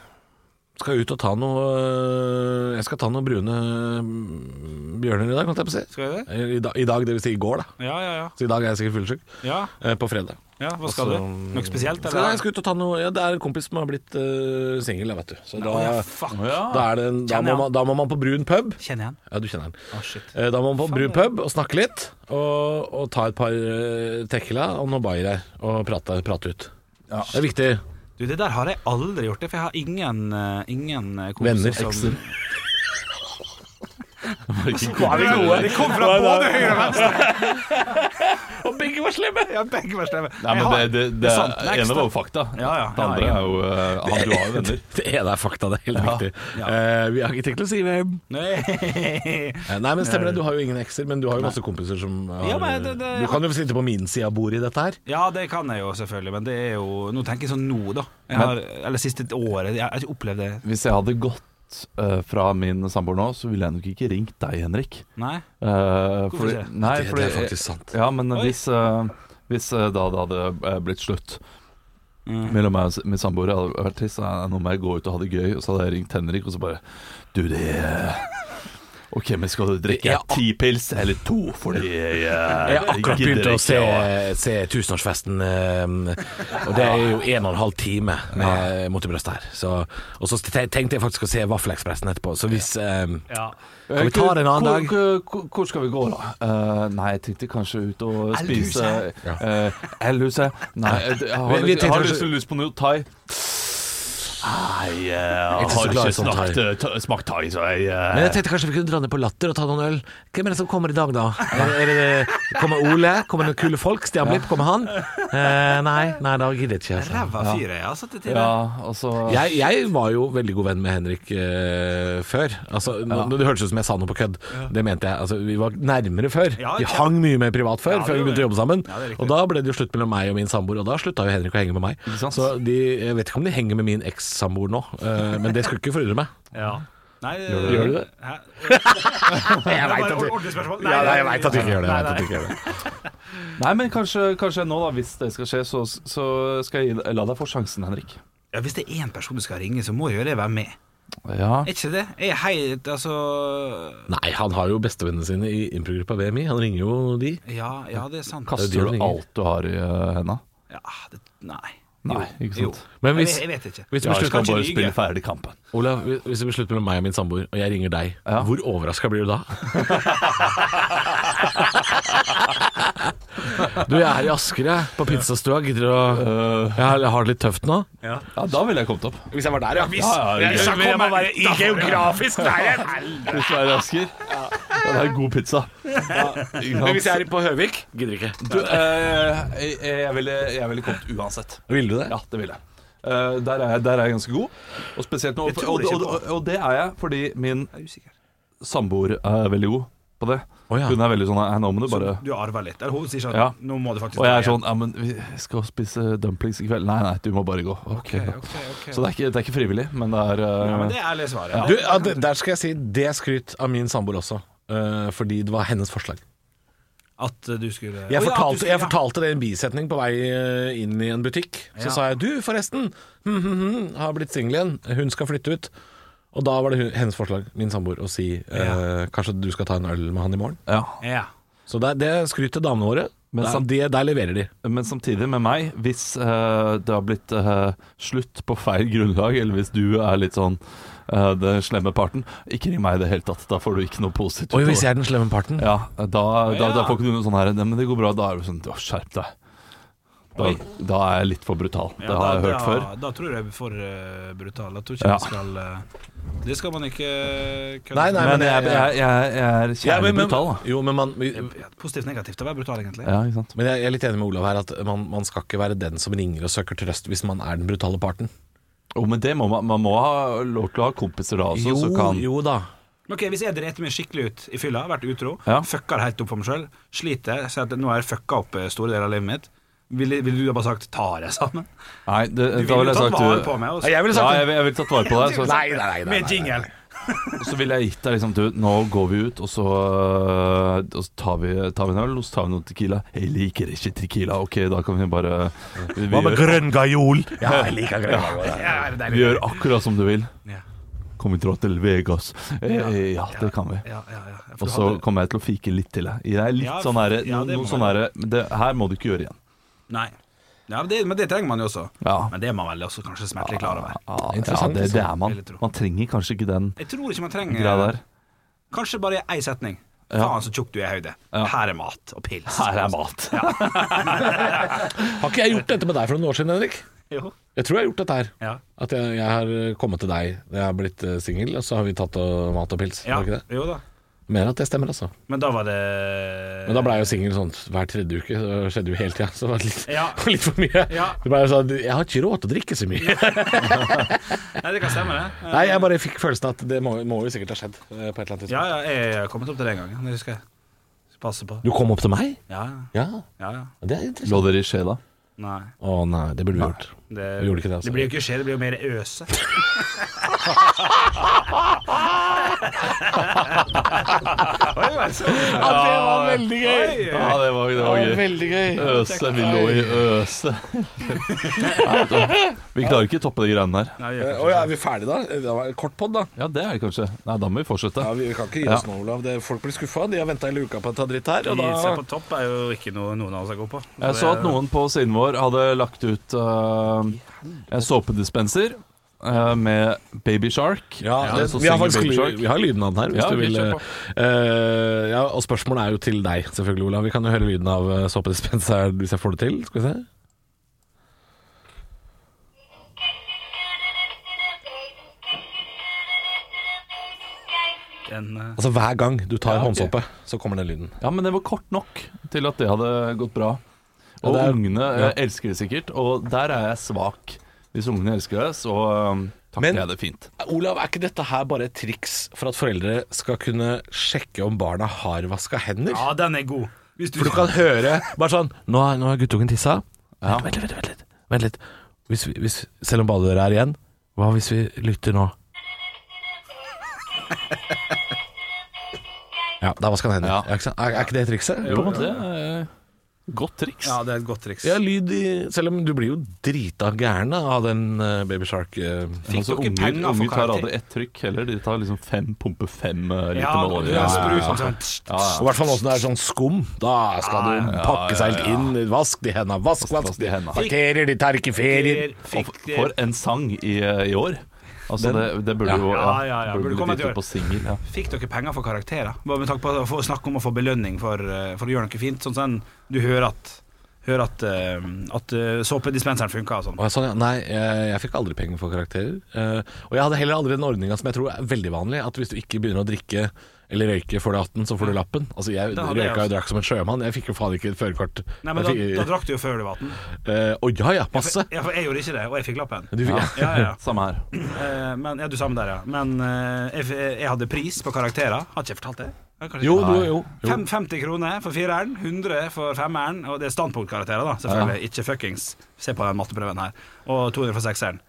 [SPEAKER 1] skal ut og ta noe øh, Jeg skal ta noen brune mm, bjørner i dag, holdt jeg på å si.
[SPEAKER 2] Skal vi det?
[SPEAKER 1] Eller I, da, I dag, det vil si i går, da.
[SPEAKER 2] Ja, ja, ja.
[SPEAKER 1] Så i dag er jeg sikkert fullsjuk.
[SPEAKER 2] ja.
[SPEAKER 1] Eh, På fredag.
[SPEAKER 2] Ja, hva skal
[SPEAKER 1] Altså,
[SPEAKER 2] du? Noe spesielt?
[SPEAKER 1] Skal, jeg skal ut og ta noe ja, Det er en kompis som har blitt øh, singel, jeg vet du. Så da,
[SPEAKER 2] ja, fuck.
[SPEAKER 1] da, er det en, da,
[SPEAKER 2] Kjenner
[SPEAKER 1] må
[SPEAKER 2] jeg
[SPEAKER 1] man, da må man på brun pub.
[SPEAKER 2] Kjenner jeg han?
[SPEAKER 1] Ja, du kjenner den.
[SPEAKER 2] Å, shit.
[SPEAKER 1] Eh, Da må man på brun pub og snakke litt, og, og ta et par eh, tequila og noen bayer her, og prate, prate ut. Det er viktig.
[SPEAKER 2] Du, det der har jeg aldri gjort, det, for jeg har ingen, eh, ingen eh,
[SPEAKER 1] Venner,
[SPEAKER 2] kompiser
[SPEAKER 1] ekser.
[SPEAKER 2] Det kom fra både høyre og venstre!
[SPEAKER 1] Og begge var slemme!
[SPEAKER 2] Ja, begge var slemme.
[SPEAKER 3] Nei, men
[SPEAKER 2] Jeg
[SPEAKER 3] det,
[SPEAKER 2] har-
[SPEAKER 3] det, det,
[SPEAKER 2] er sant,
[SPEAKER 3] det
[SPEAKER 2] next
[SPEAKER 3] ene
[SPEAKER 2] da.
[SPEAKER 3] var jo fakta.
[SPEAKER 2] Ja, ja,
[SPEAKER 3] det
[SPEAKER 2] ja,
[SPEAKER 3] andre
[SPEAKER 2] ja.
[SPEAKER 3] er jo eh, Han du har jo venner.
[SPEAKER 1] Det ene er fakta, det er helt
[SPEAKER 3] Ja.
[SPEAKER 1] riktig.
[SPEAKER 2] Ja.
[SPEAKER 1] Eh, vi har ikke tenkt å si hvem.
[SPEAKER 2] Nei.
[SPEAKER 1] Eh, Nei, men stemmer det, du har jo ingen ekser, men du har jo masse kompiser som har
[SPEAKER 2] Ja, men det- det-
[SPEAKER 1] Du kan jo sitte på min side av bordet i dette her.
[SPEAKER 2] Ja, det kan jeg jo selvfølgelig, men det er jo Nå tenker jeg sånn nå, da. Jeg har, eller siste året. Jeg har ikke opplevd det.
[SPEAKER 3] Hvis jeg hadde gått eh, fra min samboer nå, så ville jeg nok ikke ringt deg, Henrik.
[SPEAKER 2] Nei?
[SPEAKER 3] Eh, fordi,
[SPEAKER 2] det?
[SPEAKER 3] nei,
[SPEAKER 1] Det- det
[SPEAKER 3] fordi,
[SPEAKER 1] er faktisk sant.
[SPEAKER 3] Ja, men
[SPEAKER 2] Oi.
[SPEAKER 3] hvis, eh, hvis eh, da det hadde eh, blitt slutt
[SPEAKER 2] Mm.
[SPEAKER 3] mellom meg og s- min samboer Jeg hadde vært trist, eh, nå må jeg gå ut og ha det gøy. Og så hadde jeg ringt Henrik, og så bare Du, det eh, OK, men skal du drikke
[SPEAKER 1] Ja.
[SPEAKER 3] ti pils eller to? Fordi jeg, eh,
[SPEAKER 1] Jeg har akkurat
[SPEAKER 3] gidder
[SPEAKER 1] begynt å
[SPEAKER 3] ikke
[SPEAKER 1] se,
[SPEAKER 3] å-
[SPEAKER 1] se Tusenårsfesten, eh, og det er jo en og en halv time med mot i brystet her. Så, og så te- tenkte jeg faktisk å se Vaffelekspressen etterpå, så hvis eh,
[SPEAKER 2] Ja.
[SPEAKER 1] Kan vi ta det en annen
[SPEAKER 3] Hvor-
[SPEAKER 1] dag?
[SPEAKER 3] Hvor, hvor, hvor skal vi gå, da? Eh, nei, jeg tenkte kanskje ut og spise
[SPEAKER 1] Ja.
[SPEAKER 3] uh, Elhuset. Nei, jeg, jeg har,
[SPEAKER 1] Vi- vi
[SPEAKER 3] lyst- jeg har
[SPEAKER 1] tenkte
[SPEAKER 3] lyst,
[SPEAKER 1] kanskje-
[SPEAKER 3] lyst på noe thai. Nei, jeg
[SPEAKER 1] Ikke så
[SPEAKER 3] har
[SPEAKER 1] glad i
[SPEAKER 3] ikke
[SPEAKER 1] sånn
[SPEAKER 3] snakt,
[SPEAKER 1] thai.
[SPEAKER 3] eh, ta- smakt thai, så jeg eh,
[SPEAKER 1] Men jeg tenkte kanskje vi kunne dra ned på Latter og ta noen øl. Hvem er det som kommer i dag, da? Er, er det, kommer Ole? Kommer noen kule folk? Stian Blipp, kommer han? Eh, nei, nei, da gidder jeg ikke. Altså.
[SPEAKER 2] Ræva fyr jeg har satt det til.
[SPEAKER 3] Ja, altså
[SPEAKER 1] Jeg, jeg var jo veldig god venn med Henrik eh, før. Altså, nå, Det hørtes ut som jeg sa noe på kødd. Det mente jeg. Altså, vi var nærmere før.
[SPEAKER 2] Ja,
[SPEAKER 1] vi
[SPEAKER 2] ja.
[SPEAKER 1] hang mye mer privat før,
[SPEAKER 2] Ja,
[SPEAKER 1] før vi
[SPEAKER 2] det gjorde
[SPEAKER 1] begynte å jobbe sammen.
[SPEAKER 2] Ja, det er riktig.
[SPEAKER 1] og da ble det jo slutt mellom meg og min samboer, og da slutta jo Henrik å henge med meg.
[SPEAKER 3] sant?
[SPEAKER 1] Så de, jeg vet ikke om de henger med min ekssamboer nå, eh, men det skulle ikke forundre meg.
[SPEAKER 2] Ja. Nei,
[SPEAKER 1] Gjør du det?
[SPEAKER 2] Hæ?
[SPEAKER 1] Jeg
[SPEAKER 2] Bare
[SPEAKER 1] vet at du-
[SPEAKER 2] ordentlig spørsmål.
[SPEAKER 1] Ja, nei, jeg veit at du ikke gjør det.
[SPEAKER 2] Nei,
[SPEAKER 1] Jeg vet
[SPEAKER 2] nei.
[SPEAKER 1] at du ikke gjør det.
[SPEAKER 3] Nei, men kanskje, kanskje nå, da, hvis det skal skje, så, så skal jeg gi- la deg få sjansen, Henrik.
[SPEAKER 2] Ja, hvis det er én person du skal ringe, så må jo det være med.
[SPEAKER 3] Ja.
[SPEAKER 2] Er ikke det? Jeg er helt Altså
[SPEAKER 1] Nei, han har jo bestevennene sine i improgruppa VMI. Han ringer jo de.
[SPEAKER 2] Ja, ja, det er
[SPEAKER 1] Det
[SPEAKER 2] sant.
[SPEAKER 1] er
[SPEAKER 3] Kaster
[SPEAKER 1] det
[SPEAKER 3] du
[SPEAKER 1] ringer.
[SPEAKER 3] alt du har i eh, henda?
[SPEAKER 2] Ja, det, nei.
[SPEAKER 3] Nei,
[SPEAKER 2] Jo,
[SPEAKER 3] ikke sant.
[SPEAKER 2] jo.
[SPEAKER 1] Men
[SPEAKER 2] Jeg
[SPEAKER 1] hvis,
[SPEAKER 2] vet- jeg vet ikke.
[SPEAKER 1] hvis
[SPEAKER 3] Ja,
[SPEAKER 1] det
[SPEAKER 3] jeg
[SPEAKER 1] blir
[SPEAKER 3] skal
[SPEAKER 1] slutt,
[SPEAKER 3] bare
[SPEAKER 2] lyge.
[SPEAKER 3] spille ferdig kampen.
[SPEAKER 1] Olav, hvis det blir slutt mellom meg og min samboer, og jeg ringer deg,
[SPEAKER 3] Ja.
[SPEAKER 1] hvor overraska blir du da? du, jeg er i Asker, jeg. På pizzastua. Gidder du å Jeg har det litt tøft nå.
[SPEAKER 3] Ja, da ville jeg kommet opp.
[SPEAKER 1] Eh, Hvis jeg var der, ja. Hvis
[SPEAKER 3] Ja, ja, jeg-
[SPEAKER 1] jeg må være i geografisk
[SPEAKER 3] Hvis du er i Asker. Ja, det er god pizza.
[SPEAKER 1] Men hvis jeg er på Høvik Gidder ikke.
[SPEAKER 3] Du, eh, jeg, jeg, ville, jeg ville kommet uansett.
[SPEAKER 1] Ville du det?
[SPEAKER 3] Ja, det ville jeg. Eh, der, er jeg, der er jeg ganske god. Og spesielt nå
[SPEAKER 2] tror
[SPEAKER 3] og,
[SPEAKER 2] jeg
[SPEAKER 3] og,
[SPEAKER 2] ikke
[SPEAKER 3] og, og det er jeg fordi min
[SPEAKER 2] Jeg er usikker.
[SPEAKER 3] samboer er veldig god på det.
[SPEAKER 1] Å, ja.
[SPEAKER 3] Hun er veldig sånn Nei, nå må du bare
[SPEAKER 2] Du arver litt. Eller hun sier sånn
[SPEAKER 3] Ja.
[SPEAKER 2] Nå må du faktisk
[SPEAKER 3] Og jeg er sånn Ja, men vi skal spise dumplings i kveld. Nei, nei, du må bare gå. Ok,
[SPEAKER 2] Ok, ok.
[SPEAKER 3] Så det er, ikke, det er ikke frivillig, men det er eh,
[SPEAKER 2] ja, men det er ærlige svaret.
[SPEAKER 1] Du, ja, det- der skal jeg si det er skryt av min samboer også. eh, fordi det var hennes forslag.
[SPEAKER 2] At eh, du skulle
[SPEAKER 1] Jeg
[SPEAKER 2] Å, ja, at du
[SPEAKER 1] fortalte,
[SPEAKER 2] skulle-
[SPEAKER 1] jeg fortalte det i en bisetning på vei eh, inn i en butikk. Så
[SPEAKER 2] Ja.
[SPEAKER 1] sa jeg 'du, forresten, hm, hm, hm, har blitt singel igjen, hun skal flytte ut'. Og da var det hun, hennes forslag, min samboer, å si eh, 'kanskje du skal ta en øl med han i morgen'.
[SPEAKER 3] ja.
[SPEAKER 2] Ja.
[SPEAKER 1] Så det, det skryter damene våre.
[SPEAKER 3] Men
[SPEAKER 1] Men
[SPEAKER 3] sam-
[SPEAKER 1] det, der leverer de.
[SPEAKER 3] Men samtidig med meg, hvis eh, det har blitt eh, slutt på feil grunnlag, eller hvis du er litt sånn eh, den slemme parten, ikke ring meg i det hele tatt. Da får du ikke noe positivt.
[SPEAKER 1] Oi, hvis jeg er den slemme parten.
[SPEAKER 3] Ja, da, da,
[SPEAKER 2] Ja.
[SPEAKER 3] da får ikke du noe sånn her «Nei, Men det går bra. Da er du sånn «Å, Skjerp deg. Da, da er jeg litt for brutal.
[SPEAKER 2] Ja,
[SPEAKER 3] det har jeg
[SPEAKER 2] da,
[SPEAKER 3] hørt
[SPEAKER 2] da,
[SPEAKER 3] før.
[SPEAKER 2] Da tror jeg vi er for eh, brutal. Jeg tror ikke
[SPEAKER 3] Ja.
[SPEAKER 2] vi skal eh, Det skal man ikke eh, kødde
[SPEAKER 1] Nei, nei,
[SPEAKER 2] med.
[SPEAKER 3] Men jeg, jeg, jeg, jeg er
[SPEAKER 1] Ja,
[SPEAKER 3] kjærlig
[SPEAKER 1] men- men-
[SPEAKER 3] brutal, da.
[SPEAKER 1] Jo, men man
[SPEAKER 2] Ja, Positivt negativt å være brutal, egentlig.
[SPEAKER 3] Ja, ikke sant.
[SPEAKER 1] men jeg jeg er litt enig med Olav her at man, man skal ikke være den som ringer og søker trøst hvis man er den brutale parten.
[SPEAKER 3] Jo, men det må man, man må ha lov til å ha kompiser da også, så kan
[SPEAKER 1] jo da.
[SPEAKER 2] Men Ok, Hvis jeg driter meg skikkelig ut i fylla, vært utro,
[SPEAKER 3] Ja.
[SPEAKER 2] fucker helt opp for meg sjøl, sliter, sier at nå har jeg fucka opp eh, store deler av livet mitt, ville vil du da bare sagt 'ta deg sammen'?
[SPEAKER 3] Nei, det,
[SPEAKER 2] Du
[SPEAKER 3] da
[SPEAKER 2] ville
[SPEAKER 3] ville
[SPEAKER 2] jo
[SPEAKER 3] jeg
[SPEAKER 2] tatt
[SPEAKER 3] sagt
[SPEAKER 2] vare
[SPEAKER 3] du-
[SPEAKER 2] på meg. Og
[SPEAKER 1] Nei, jeg ville
[SPEAKER 3] Ja,
[SPEAKER 1] sagt
[SPEAKER 3] jeg, jeg ville tatt vare på deg. Så,
[SPEAKER 1] Nei, nei, nei. nei,
[SPEAKER 2] med
[SPEAKER 1] nei, nei.
[SPEAKER 2] jingle.
[SPEAKER 3] Så ville jeg gitt deg liksom Du, nå går vi ut, og så, øh, og så tar, vi, tar vi en øl, og så tar vi noen tequila. Jeg liker ikke tequila. Ok, da kan vi bare Vi, vi, gjør,
[SPEAKER 1] grønn gajol? Ja, jeg liker grønn gajol. ja.
[SPEAKER 2] Ja, det er
[SPEAKER 3] vi
[SPEAKER 2] deilig.
[SPEAKER 3] gjør akkurat som du vil.
[SPEAKER 2] Ja,
[SPEAKER 3] Kommer vi dra til Vegas? Eh, eh, Ja, det kan vi.
[SPEAKER 2] ja, ja, ja. For du
[SPEAKER 3] Og så
[SPEAKER 2] hadde-
[SPEAKER 3] kommer jeg til å fike litt til deg. Jeg er litt
[SPEAKER 2] Ja,
[SPEAKER 3] sånn herre
[SPEAKER 2] ja, det
[SPEAKER 3] Noen
[SPEAKER 2] må
[SPEAKER 3] sånn herre det, Her må du ikke gjøre igjen.
[SPEAKER 2] Nei. Ja, men det, men det trenger man jo også.
[SPEAKER 3] Ja.
[SPEAKER 2] Men det er man vel også kanskje smertelig klar over.
[SPEAKER 3] Ja, ja
[SPEAKER 1] Interessant,
[SPEAKER 3] det, det
[SPEAKER 1] altså.
[SPEAKER 3] er man.
[SPEAKER 2] Veldig tro.
[SPEAKER 3] Man trenger kanskje ikke den
[SPEAKER 2] Jeg tror ikke man
[SPEAKER 3] greia
[SPEAKER 2] trenger
[SPEAKER 3] der.
[SPEAKER 2] Kanskje bare ei setning.
[SPEAKER 3] Ja.
[SPEAKER 2] Faen, så tjukk du er i høyde. Her er mat og pils.
[SPEAKER 3] Her er mat.
[SPEAKER 1] Har ikke jeg gjort dette med deg for noen år siden, Henrik?
[SPEAKER 2] Jo.
[SPEAKER 1] Jeg tror jeg har gjort dette her.
[SPEAKER 2] Ja.
[SPEAKER 1] At jeg, jeg har kommet til deg, jeg har blitt eh, singel, og så har vi tatt og mat og pils.
[SPEAKER 2] Ja,
[SPEAKER 1] Har ikke det?
[SPEAKER 2] jo da.
[SPEAKER 1] Mener at det stemmer, altså.
[SPEAKER 2] Men da var det
[SPEAKER 1] Men da ble jeg jo singel sånn hver tredje uke, så det skjedde jo hele tida. Så det var litt,
[SPEAKER 2] Ja.
[SPEAKER 1] litt for mye.
[SPEAKER 2] Ja.
[SPEAKER 1] Det ble jo sånn, jeg har ikke råd til å drikke så mye.
[SPEAKER 2] Nei, det kan stemme, det.
[SPEAKER 1] Nei, jeg bare fikk følelsen at det må, må jo sikkert ha skjedd eh, på et eller annet tidspunkt.
[SPEAKER 2] Ja, ja, jeg har kommet opp til det en gang. Det husker jeg. Skal Passe på.
[SPEAKER 1] Du kom opp til meg?
[SPEAKER 2] Ja,
[SPEAKER 1] Ja,
[SPEAKER 2] ja. ja.
[SPEAKER 1] det er interessant.
[SPEAKER 3] Lå dere i sjela?
[SPEAKER 2] Nei.
[SPEAKER 1] Å nei, det burde vi gjort.
[SPEAKER 2] Det,
[SPEAKER 1] Vi gjorde ikke det, altså.
[SPEAKER 2] blir jo ikke skje, det blir jo mer øse. Oi, vær så god.
[SPEAKER 1] Ja, det var veldig gøy!
[SPEAKER 3] Ja, det var, det var gøy.
[SPEAKER 1] veldig gøy.
[SPEAKER 3] Øse, vi lå i øse. Nei, da- vi klarer ikke å toppe de greiene der.
[SPEAKER 2] Nei, jeg
[SPEAKER 1] Eh, Å
[SPEAKER 2] gjør
[SPEAKER 1] ja, er vi ferdige da? Det var en kort podd da.
[SPEAKER 3] Ja, det er vi kanskje. Nei, da må vi fortsette.
[SPEAKER 1] Ja, vi kan ikke gi
[SPEAKER 3] Ja.
[SPEAKER 1] oss nå, Olav. Det, folk blir skuffa. De har venta hele uka på å ta dritt her.
[SPEAKER 2] ikke
[SPEAKER 1] Og
[SPEAKER 2] det. Gi seg
[SPEAKER 1] da
[SPEAKER 2] på topp er jo ikke noe noen av oss er gode på.
[SPEAKER 3] Jeg så at noen på siden vår hadde lagt ut eh, en såpedispenser eh, med Baby Shark.
[SPEAKER 1] ja, det,
[SPEAKER 3] så
[SPEAKER 1] vi, har
[SPEAKER 3] synger
[SPEAKER 1] faktisk,
[SPEAKER 3] Baby
[SPEAKER 1] ly-
[SPEAKER 3] Shark.
[SPEAKER 1] vi har lyden av den her, hvis
[SPEAKER 3] Ja,
[SPEAKER 1] du
[SPEAKER 3] vi
[SPEAKER 1] vil.
[SPEAKER 3] kjør
[SPEAKER 1] eh, ja, og spørsmålet er jo til deg, selvfølgelig, Olav. Vi kan jo høre lyden av eh, såpedispenseren hvis jeg får det til. Skal vi se.
[SPEAKER 2] Den, eh,
[SPEAKER 1] Altså Hver gang du tar
[SPEAKER 3] Ja, ok.
[SPEAKER 1] håndsoppe, så kommer den lyden.
[SPEAKER 3] Ja, men det var kort nok til at det hadde gått bra.
[SPEAKER 1] Ja,
[SPEAKER 3] Og
[SPEAKER 1] det er-
[SPEAKER 3] ungene eh, elsker det sikkert, og der er jeg svak. Hvis ungene elsker det, så eh, takler
[SPEAKER 1] Men-
[SPEAKER 3] jeg det fint.
[SPEAKER 1] Eh, Olav, er ikke dette her bare et triks for at foreldre skal kunne sjekke om barna har vaska hender?
[SPEAKER 2] ja, den er god. Hvis du,
[SPEAKER 1] For du kan høre bare sånn Nå har, nå har guttungen tissa. Vent, vent, vent, vent litt. Vent litt. Hvis vi, hvis, selv om badedøra er igjen, hva hvis vi lytter nå? Ja, da vasker han hendene.
[SPEAKER 3] Ja.
[SPEAKER 1] Ja. ikke sant? Er, er ikke det trikset?
[SPEAKER 3] Jo, det er godt triks.
[SPEAKER 2] Ja, det er et godt triks.
[SPEAKER 1] Ja, lyd i Selv om du blir jo drita gæren av den eh, Baby Shark eh,
[SPEAKER 2] Fikk
[SPEAKER 3] Altså,
[SPEAKER 2] dere
[SPEAKER 3] unger,
[SPEAKER 2] penger for
[SPEAKER 3] unger tar
[SPEAKER 2] karakter?
[SPEAKER 3] aldri ett trykk heller. De tar liksom fem, pumper fem eh, liter
[SPEAKER 2] Ja,
[SPEAKER 3] med
[SPEAKER 2] du
[SPEAKER 3] olje.
[SPEAKER 2] er sprut,
[SPEAKER 3] ja,
[SPEAKER 2] sånn.
[SPEAKER 3] ja.
[SPEAKER 1] Og I hvert fall nå som det er sånn skum. Da skal du pakke seg helt inn. Vask de henda, vask, vask
[SPEAKER 3] vask de
[SPEAKER 1] de
[SPEAKER 3] henda.
[SPEAKER 1] henda. Parkerer, de tar ikke ferier.
[SPEAKER 2] Fikk
[SPEAKER 3] Og
[SPEAKER 2] det-
[SPEAKER 3] for en sang i, i år. Altså, det, det burde jo
[SPEAKER 2] Ja, ja, ja, burde
[SPEAKER 3] Burde
[SPEAKER 2] komme
[SPEAKER 3] blitt
[SPEAKER 2] et år.
[SPEAKER 3] gitt ut på singel. Ja.
[SPEAKER 2] Fikk dere penger for karakterer? Bare med tanke på å få snakke om å få belønning for, eh, for å gjøre noe fint. Sånn som du hører at, hører at, eh, at eh, såpedispenseren funker og sånn.
[SPEAKER 1] Og jeg, sånn, ja, nei, jeg, jeg fikk aldri penger for karakterer. Eh, og jeg hadde heller aldri den ordninga som jeg tror er veldig vanlig, at hvis du ikke begynner å drikke eller røyke før du er 18, så får du lappen. Altså Jeg
[SPEAKER 2] Det hadde jeg
[SPEAKER 1] røyka
[SPEAKER 2] også.
[SPEAKER 1] og drakk som en sjømann. Jeg fikk jo faen ikke et førerkort.
[SPEAKER 2] Nei, men da,
[SPEAKER 1] Jeg
[SPEAKER 2] da
[SPEAKER 1] fikk-
[SPEAKER 2] drakk du jo før du var 18.
[SPEAKER 1] Eh, Å ja ja,
[SPEAKER 2] Ja, for,
[SPEAKER 1] masse.
[SPEAKER 2] ja, for jeg gjorde ikke det, og jeg fikk lappen.
[SPEAKER 1] Du, fikk-
[SPEAKER 2] Ja, ja, ja.
[SPEAKER 3] Samme her.
[SPEAKER 2] Eh, Men, ja, du samme der, ja. Men eh, jeg, jeg hadde pris på karakterer. Har ikke jeg fortalt det? Jeg har kanskje
[SPEAKER 1] Jo,
[SPEAKER 2] ikke-
[SPEAKER 1] du, jo. jo.
[SPEAKER 2] Fem- 50 kroner for fireren, 100 for femmeren, og det er standpunktkarakterer, da, selvfølgelig. Ikke fuckings. Se på den matteprøven her. Og 200 for sekseren.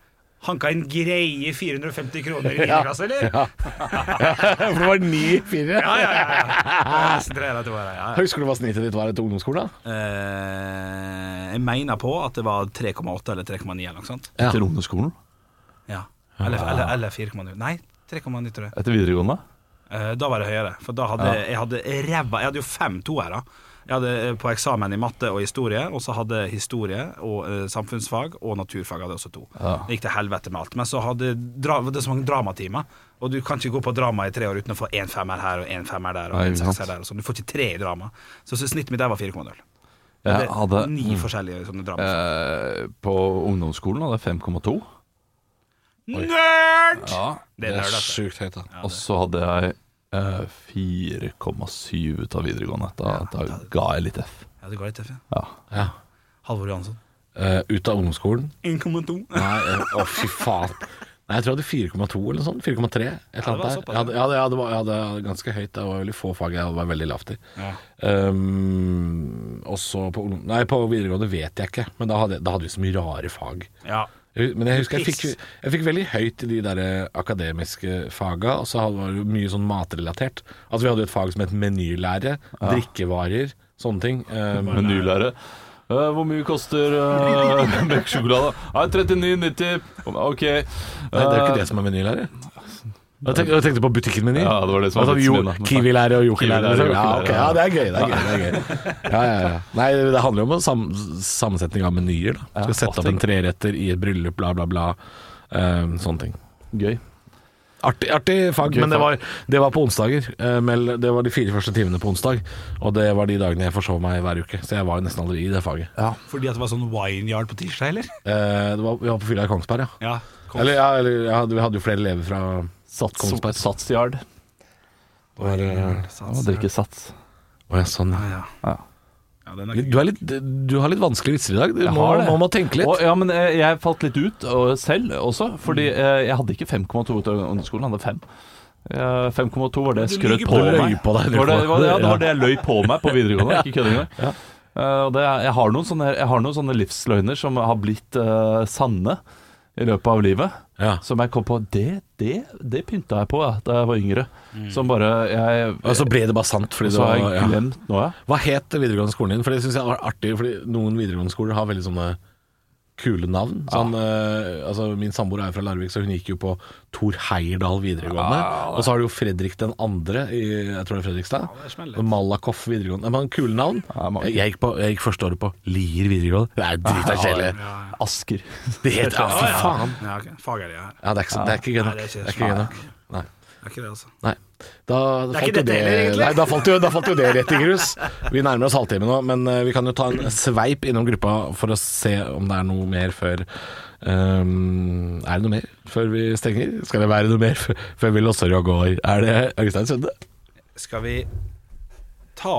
[SPEAKER 2] Hanka inn greie 450 kroner i niende klasse, eller? Ja,
[SPEAKER 1] For det var ni firere.
[SPEAKER 2] ja, ja. ja. Det er nesten tre eller to her, ja, ja.
[SPEAKER 1] Husker du hva snittet ditt var etter ungdomsskolen? da?
[SPEAKER 2] Eh, jeg mener på at det var 3,8 eller 3,9 eller noe sånt.
[SPEAKER 1] Ja.
[SPEAKER 3] Til ungdomsskolen?
[SPEAKER 2] Ja. Eller, eller, eller 4,0. Nei, 3,9 tror jeg.
[SPEAKER 3] Etter videregående?
[SPEAKER 2] Eh, Da var det høyere, for da hadde jeg hadde ræva Jeg hadde jo fem toere. Jeg hadde eh, på eksamen i matte og historie, og så hadde jeg historie og eh, samfunnsfag og naturfag hadde jeg også to. Det gikk til helvete med alt. Men så hadde dra, det var så mange dramatimer, og du kan ikke gå på drama i tre år uten å få en femmer her og en femmer der og
[SPEAKER 3] Nei,
[SPEAKER 2] en
[SPEAKER 3] ikke sant.
[SPEAKER 2] sekser der og sånn. Du får ikke tre i drama. Så, så snittet mitt der var 4,0. Det
[SPEAKER 3] Jeg
[SPEAKER 2] er
[SPEAKER 3] hadde Mm.
[SPEAKER 2] Ni forskjellige sånne drama.
[SPEAKER 3] eh, På ungdomsskolen hadde jeg 5,2.
[SPEAKER 2] Nerd!
[SPEAKER 3] Ja.
[SPEAKER 2] Det er nerd, altså.
[SPEAKER 1] sjukt høyt, da.
[SPEAKER 3] Og så hadde jeg eh, 4,7 ut av videregående. Da, da ga jeg litt F.
[SPEAKER 2] Ja, det går litt tøft, ja.
[SPEAKER 3] Ja.
[SPEAKER 1] Ja.
[SPEAKER 2] Halvor Johansson.
[SPEAKER 1] Eh, ut av ungdomsskolen
[SPEAKER 2] 1,2.
[SPEAKER 1] Nei, eh, å fy faen. Nei, jeg tror jeg hadde 4,2 eller noe sånt. 4,3. et eller
[SPEAKER 2] Ja, det var
[SPEAKER 1] annet der.
[SPEAKER 2] såpass,
[SPEAKER 1] Jeg hadde, jeg, hadde, jeg, hadde, jeg hadde jeg hadde ganske høyt. Det var veldig få fag jeg var veldig lavt i.
[SPEAKER 2] Ja.
[SPEAKER 1] Um, og så på, ungdom- nei, på videregående vet jeg ikke, men da hadde, da hadde vi så mye rare fag.
[SPEAKER 2] Ja.
[SPEAKER 1] Jeg- Men jeg husker jeg fikk,
[SPEAKER 2] Piss.
[SPEAKER 1] jeg fikk veldig høyt i de der eh, akademiske faga, og så hadde- var det jo mye sånn matrelatert. Altså Vi hadde jo et fag som het menylære, drikkevarer, sånne ting. Um,
[SPEAKER 3] Menylære. Eh, hvor mye koster uh, melkesjokolade? Nei, 39,90. OK. Eh,
[SPEAKER 1] Nei, det er jo ikke det som er menylære. Jeg tenkte, jeg tenkte på butikkmenyer.
[SPEAKER 3] Ja, det var det som var
[SPEAKER 1] Altså,
[SPEAKER 3] vitsen
[SPEAKER 1] jo-
[SPEAKER 3] min, da.
[SPEAKER 1] Kiwi-lære og Joki-lære.
[SPEAKER 3] Kiwi-lære
[SPEAKER 1] liksom.
[SPEAKER 3] og
[SPEAKER 1] Ja,
[SPEAKER 3] Joki-lære,
[SPEAKER 1] ok, ja, det er gøy. det er gøy, det er gøy. Ja, ja, ja. Nei, det handler jo om sam sammensetning av menyer. da. Du skal sette opp en treretter i et bryllup, bla, bla, bla. Eh, sånne ting.
[SPEAKER 3] Gøy.
[SPEAKER 1] Artig, artig fag,
[SPEAKER 3] Gøy
[SPEAKER 1] men det
[SPEAKER 3] fag.
[SPEAKER 1] var, det var på onsdager. Eh, men Det var de fire første timene på onsdag, og det var de dagene jeg forsov meg hver uke. Så jeg var jo nesten aldri i det faget.
[SPEAKER 2] Fordi at det var sånn wineyard på tirsdag, eller?
[SPEAKER 1] Eh, det var, vi var på fylla i Kongsberg, ja.
[SPEAKER 2] Ja. kom.
[SPEAKER 1] Eller, ja, eller ja, vi hadde jo flere elever fra
[SPEAKER 3] Sats,
[SPEAKER 1] Kongsberg.
[SPEAKER 3] satsjard.
[SPEAKER 1] var, eh,
[SPEAKER 3] Jeg må drikke Sats.
[SPEAKER 1] Å ja, sånn.
[SPEAKER 2] Ja, ja.
[SPEAKER 3] Ja.
[SPEAKER 2] Ja, den er
[SPEAKER 1] Du, er litt, du har litt vanskelige vitser i dag. Du
[SPEAKER 3] Jeg
[SPEAKER 1] må,
[SPEAKER 3] har det.
[SPEAKER 1] må, må tenke litt.
[SPEAKER 3] Og, ja, men eh, jeg falt litt ut og, selv også, fordi
[SPEAKER 1] Mm.
[SPEAKER 3] eh, jeg hadde ikke 5,2 ut av ungdomsskolen, jeg hadde 5. Eh, 5,2 var det jeg
[SPEAKER 2] Du
[SPEAKER 3] skrøt
[SPEAKER 2] lyger
[SPEAKER 3] på
[SPEAKER 1] på- du løy
[SPEAKER 3] meg.
[SPEAKER 1] på deg, du
[SPEAKER 3] Det var det,
[SPEAKER 1] på-
[SPEAKER 3] det var, det- ja, det
[SPEAKER 1] Ja.
[SPEAKER 3] var det jeg løy på meg på videregående. Ikke kødd engang. Eh, og det, er- jeg, har noen sånne, jeg har noen sånne livsløgner som har blitt eh, sanne i løpet av livet.
[SPEAKER 1] Ja.
[SPEAKER 3] Som jeg kom på Det, det, det pynta jeg på ja, da jeg var yngre. Som bare jeg,
[SPEAKER 1] Og så ble det bare sant. Fordi Mm. det
[SPEAKER 3] Så har
[SPEAKER 1] var,
[SPEAKER 3] jeg
[SPEAKER 1] ja.
[SPEAKER 3] glemt nå, ja.
[SPEAKER 1] Hva het videregående skolen din? For det synes jeg var artig, fordi noen videregående skoler har veldig sånne kule navn. Sånn, eh, altså, min samboer er jo fra Larvik, så hun gikk jo på Thor Heyerdahl videregående. og så har du jo Fredrik den andre i jeg tror det er Fredrikstad.
[SPEAKER 2] det smeller litt.
[SPEAKER 1] og Malakoff videregående. Men Kule navn.
[SPEAKER 3] Ja, mange.
[SPEAKER 1] jeg, gikk på, jeg gikk første året på Lier videregående. Det er drita kjedelig.
[SPEAKER 3] Asker.
[SPEAKER 1] Det heter ja, fy faen.
[SPEAKER 2] Ja, ok. Fag er det her.
[SPEAKER 1] Ja, det er ikke, så- det er ikke gøy
[SPEAKER 2] Nei,
[SPEAKER 1] nok.
[SPEAKER 2] det er
[SPEAKER 1] Det
[SPEAKER 2] ikke
[SPEAKER 1] er ikke gøy
[SPEAKER 2] smart.
[SPEAKER 1] nok. Nei.
[SPEAKER 2] Det er ikke det, altså.
[SPEAKER 1] Nei. Da, da,
[SPEAKER 2] Det er
[SPEAKER 1] falt
[SPEAKER 2] ikke
[SPEAKER 1] jo
[SPEAKER 2] dette heller,
[SPEAKER 1] det,
[SPEAKER 2] egentlig.
[SPEAKER 1] nei, da, falt jo, da falt jo det rett i grus. Vi nærmer oss halvtimen nå, men eh, vi kan jo ta en sveip innom gruppa for å se om det er noe mer før ehm, Er det noe mer før vi stenger? Skal det være noe mer før, før vi losser og går? Er det Øystein Sunde?
[SPEAKER 2] Skal vi ta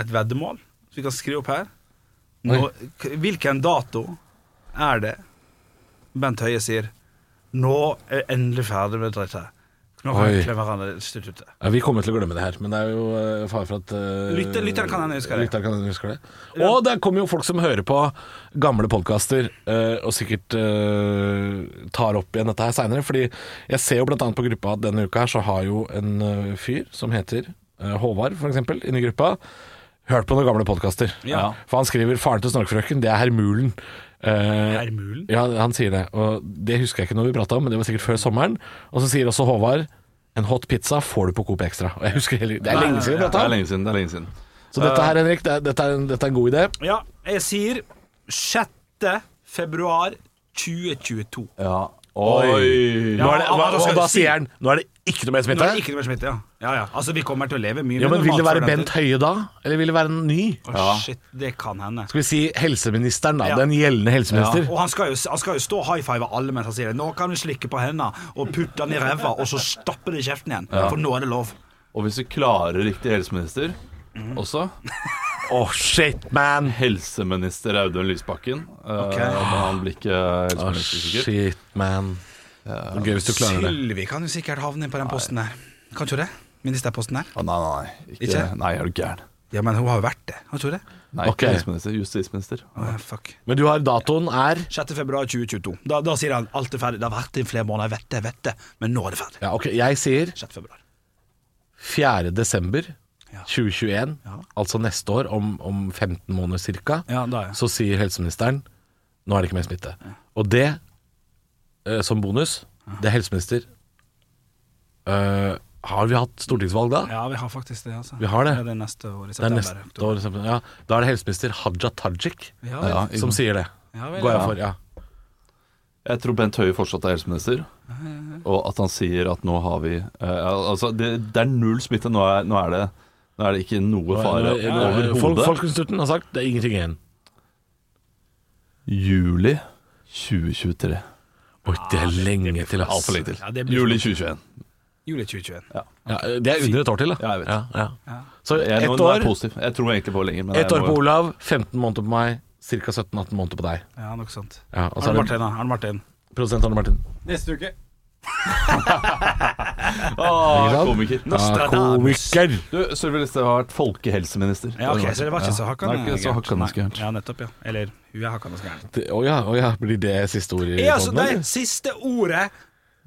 [SPEAKER 2] et veddemål, så vi kan skrive opp her? Nå, k- hvilken dato er det Bent Høie sier 'Nå er jeg endelig ferdig med dette'. her. Nå kan
[SPEAKER 1] Oi.
[SPEAKER 2] vi klemme hverandre slutt ute.
[SPEAKER 1] Ja, vi kommer til å glemme det her, men det er jo eh, fare for at eh,
[SPEAKER 2] Lytter- lytteren kan hende husker det.
[SPEAKER 1] lytteren kan hende husker det. Og det kommer jo folk som hører på gamle podkaster, og sikkert eh, tar opp igjen dette her seinere. Fordi jeg ser jo bl.a. på gruppa at denne uka her så har jo en eh, fyr som heter eh, Håvard, for eksempel, inni gruppa, hørt på noen gamle podkaster.
[SPEAKER 2] Ja.
[SPEAKER 1] For han skriver 'Faren til snorkfrøken', det er Hermulen. Eh,
[SPEAKER 2] Hermulen?
[SPEAKER 1] ja, han sier det. Og det husker jeg ikke når vi prata om, men det var sikkert før sommeren. Og så sier også Håvard en hot pizza får du på Coop Extra. Og jeg husker heller, Det er lenge siden vi
[SPEAKER 3] Det
[SPEAKER 1] prata
[SPEAKER 3] er
[SPEAKER 1] om.
[SPEAKER 3] lenge siden. det er lenge siden
[SPEAKER 1] Så dette her, Henrik, det er, dette, er en, dette er en god idé.
[SPEAKER 2] Ja, jeg sier 6. februar 2022.
[SPEAKER 3] Ja. Oi!
[SPEAKER 1] Nå er det,
[SPEAKER 2] Ja,
[SPEAKER 1] hva,
[SPEAKER 2] hva skal
[SPEAKER 1] og da
[SPEAKER 2] du si?
[SPEAKER 1] sier han nå er det ikke noe mer
[SPEAKER 2] Nå
[SPEAKER 1] smitte.
[SPEAKER 2] er det ikke noe mer smitte, ja. ja, ja. Altså, vi kommer til å leve mye
[SPEAKER 1] Ja, men Vil det være
[SPEAKER 2] normalt
[SPEAKER 1] Bent Høie da? Eller vil det være en ny?
[SPEAKER 2] Å, Shit, det kan hende.
[SPEAKER 1] Skal vi si helseministeren, da.
[SPEAKER 2] Ja.
[SPEAKER 1] Den gjeldende helseminister.
[SPEAKER 2] Og han skal, jo, han skal jo stå og high five alle mens han sier det. Nå kan du slikke på hendene og putte den i ræva, og så stappe det i kjeften igjen. For nå er det lov.
[SPEAKER 3] Og hvis vi klarer riktig helseminister også
[SPEAKER 1] Å, shit, man!
[SPEAKER 3] Helseminister Audun Lysbakken. Eh, men han blir ikke
[SPEAKER 1] Å,
[SPEAKER 3] helseminister, sikkert.
[SPEAKER 1] Ah, shit, man. Det er Gøy hvis du klarer det.
[SPEAKER 2] Sylvi kan jo sikkert havne inn på den posten der. Kan ikke hun det? Ministerposten der?
[SPEAKER 3] Å, Ah, nei, nei, nei. Ikke,
[SPEAKER 2] Ikke?
[SPEAKER 3] Nei, er du gæren.
[SPEAKER 2] Ja, men hun har jo vært det. Har hun ikke det?
[SPEAKER 3] Nei,
[SPEAKER 1] Ok.
[SPEAKER 3] ikke helseminister. Justisminister.
[SPEAKER 2] Å, fuck.
[SPEAKER 1] Men du har datoen er
[SPEAKER 2] 6. februar 2022. Da, da sier han alt er ferdig. Det har vært det i flere måneder, jeg vet det, jeg vet det. Men nå er det ferdig.
[SPEAKER 1] Ja, ok, jeg sier
[SPEAKER 2] 6. februar.
[SPEAKER 1] 4. desember
[SPEAKER 2] Ja.
[SPEAKER 1] 2021,
[SPEAKER 2] Ja.
[SPEAKER 1] altså neste år, om, om 15 måneder cirka,
[SPEAKER 2] Ja, da, ja.
[SPEAKER 1] så sier helseministeren nå er det ikke mer smitte. Og det, eh, som bonus, det er helseminister Eh, Har vi hatt stortingsvalg da?
[SPEAKER 2] Ja, vi har faktisk det, altså.
[SPEAKER 1] Vi har det.
[SPEAKER 2] Det er neste år i
[SPEAKER 1] det er
[SPEAKER 2] september.
[SPEAKER 1] neste år, liksom. ja, da er det helseminister Haja Tajik
[SPEAKER 2] Ja, vel.
[SPEAKER 3] Ja.
[SPEAKER 1] som sier det.
[SPEAKER 2] Ja, vel,
[SPEAKER 1] Går jeg
[SPEAKER 3] ja.
[SPEAKER 1] for, ja.
[SPEAKER 3] Jeg tror Bent Høie fortsatt er helseminister. Og at han sier at nå har vi eh, Altså, det, det er null smitte. Nå er, nå er, det, nå er det ikke noe fare
[SPEAKER 1] Nå- nå- Folk-
[SPEAKER 3] overhodet.
[SPEAKER 1] Folkeinstitutten har sagt det er ingenting igjen.
[SPEAKER 3] Juli 2023.
[SPEAKER 1] Oi, det er lenge til, ass.
[SPEAKER 3] Altfor lenge til.
[SPEAKER 2] Ja, det blir-
[SPEAKER 3] Juli 2021.
[SPEAKER 2] Juli 2021.
[SPEAKER 1] Ja, eh, det er under et år til, da.
[SPEAKER 3] Ja, jeg vet.
[SPEAKER 1] ja. Så
[SPEAKER 3] Jeg, nå,
[SPEAKER 1] ett
[SPEAKER 3] nå er
[SPEAKER 1] år
[SPEAKER 3] jeg positiv. Jeg tror egentlig på lenger. men jeg
[SPEAKER 1] Ett år
[SPEAKER 3] må-
[SPEAKER 1] på Olav, 15 måneder på meg, ca. 17-18 måneder på deg.
[SPEAKER 2] Ja, noe sånt.
[SPEAKER 1] Ja, og så
[SPEAKER 2] Arne
[SPEAKER 1] er det
[SPEAKER 2] Martin, da. Arne Martin.
[SPEAKER 1] produsent Arne Martin.
[SPEAKER 6] Neste uke.
[SPEAKER 3] Åh,
[SPEAKER 1] sant?
[SPEAKER 3] Ah, komiker.
[SPEAKER 1] Ja,
[SPEAKER 2] Ah.
[SPEAKER 1] komiker!
[SPEAKER 3] Du, Sylvi Listhaug har vært folkehelseminister.
[SPEAKER 2] Ja, ok, Så det var ikke så hakkende
[SPEAKER 3] Det er ikke
[SPEAKER 2] gærent.
[SPEAKER 3] så hakkende
[SPEAKER 2] Nei.
[SPEAKER 3] gærent.
[SPEAKER 2] Ja, nettopp, ja. Eller hun er hakkende gæren.
[SPEAKER 1] Det- Å ja, å ja, blir det siste ord i
[SPEAKER 2] Altså,
[SPEAKER 1] podden, eller?
[SPEAKER 2] det siste ordet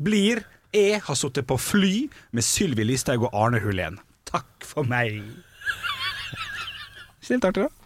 [SPEAKER 2] blir 'Jeg har sittet på fly med Sylvi Listhaug og Arne Hulén'. Takk for meg. Snilt artig, da.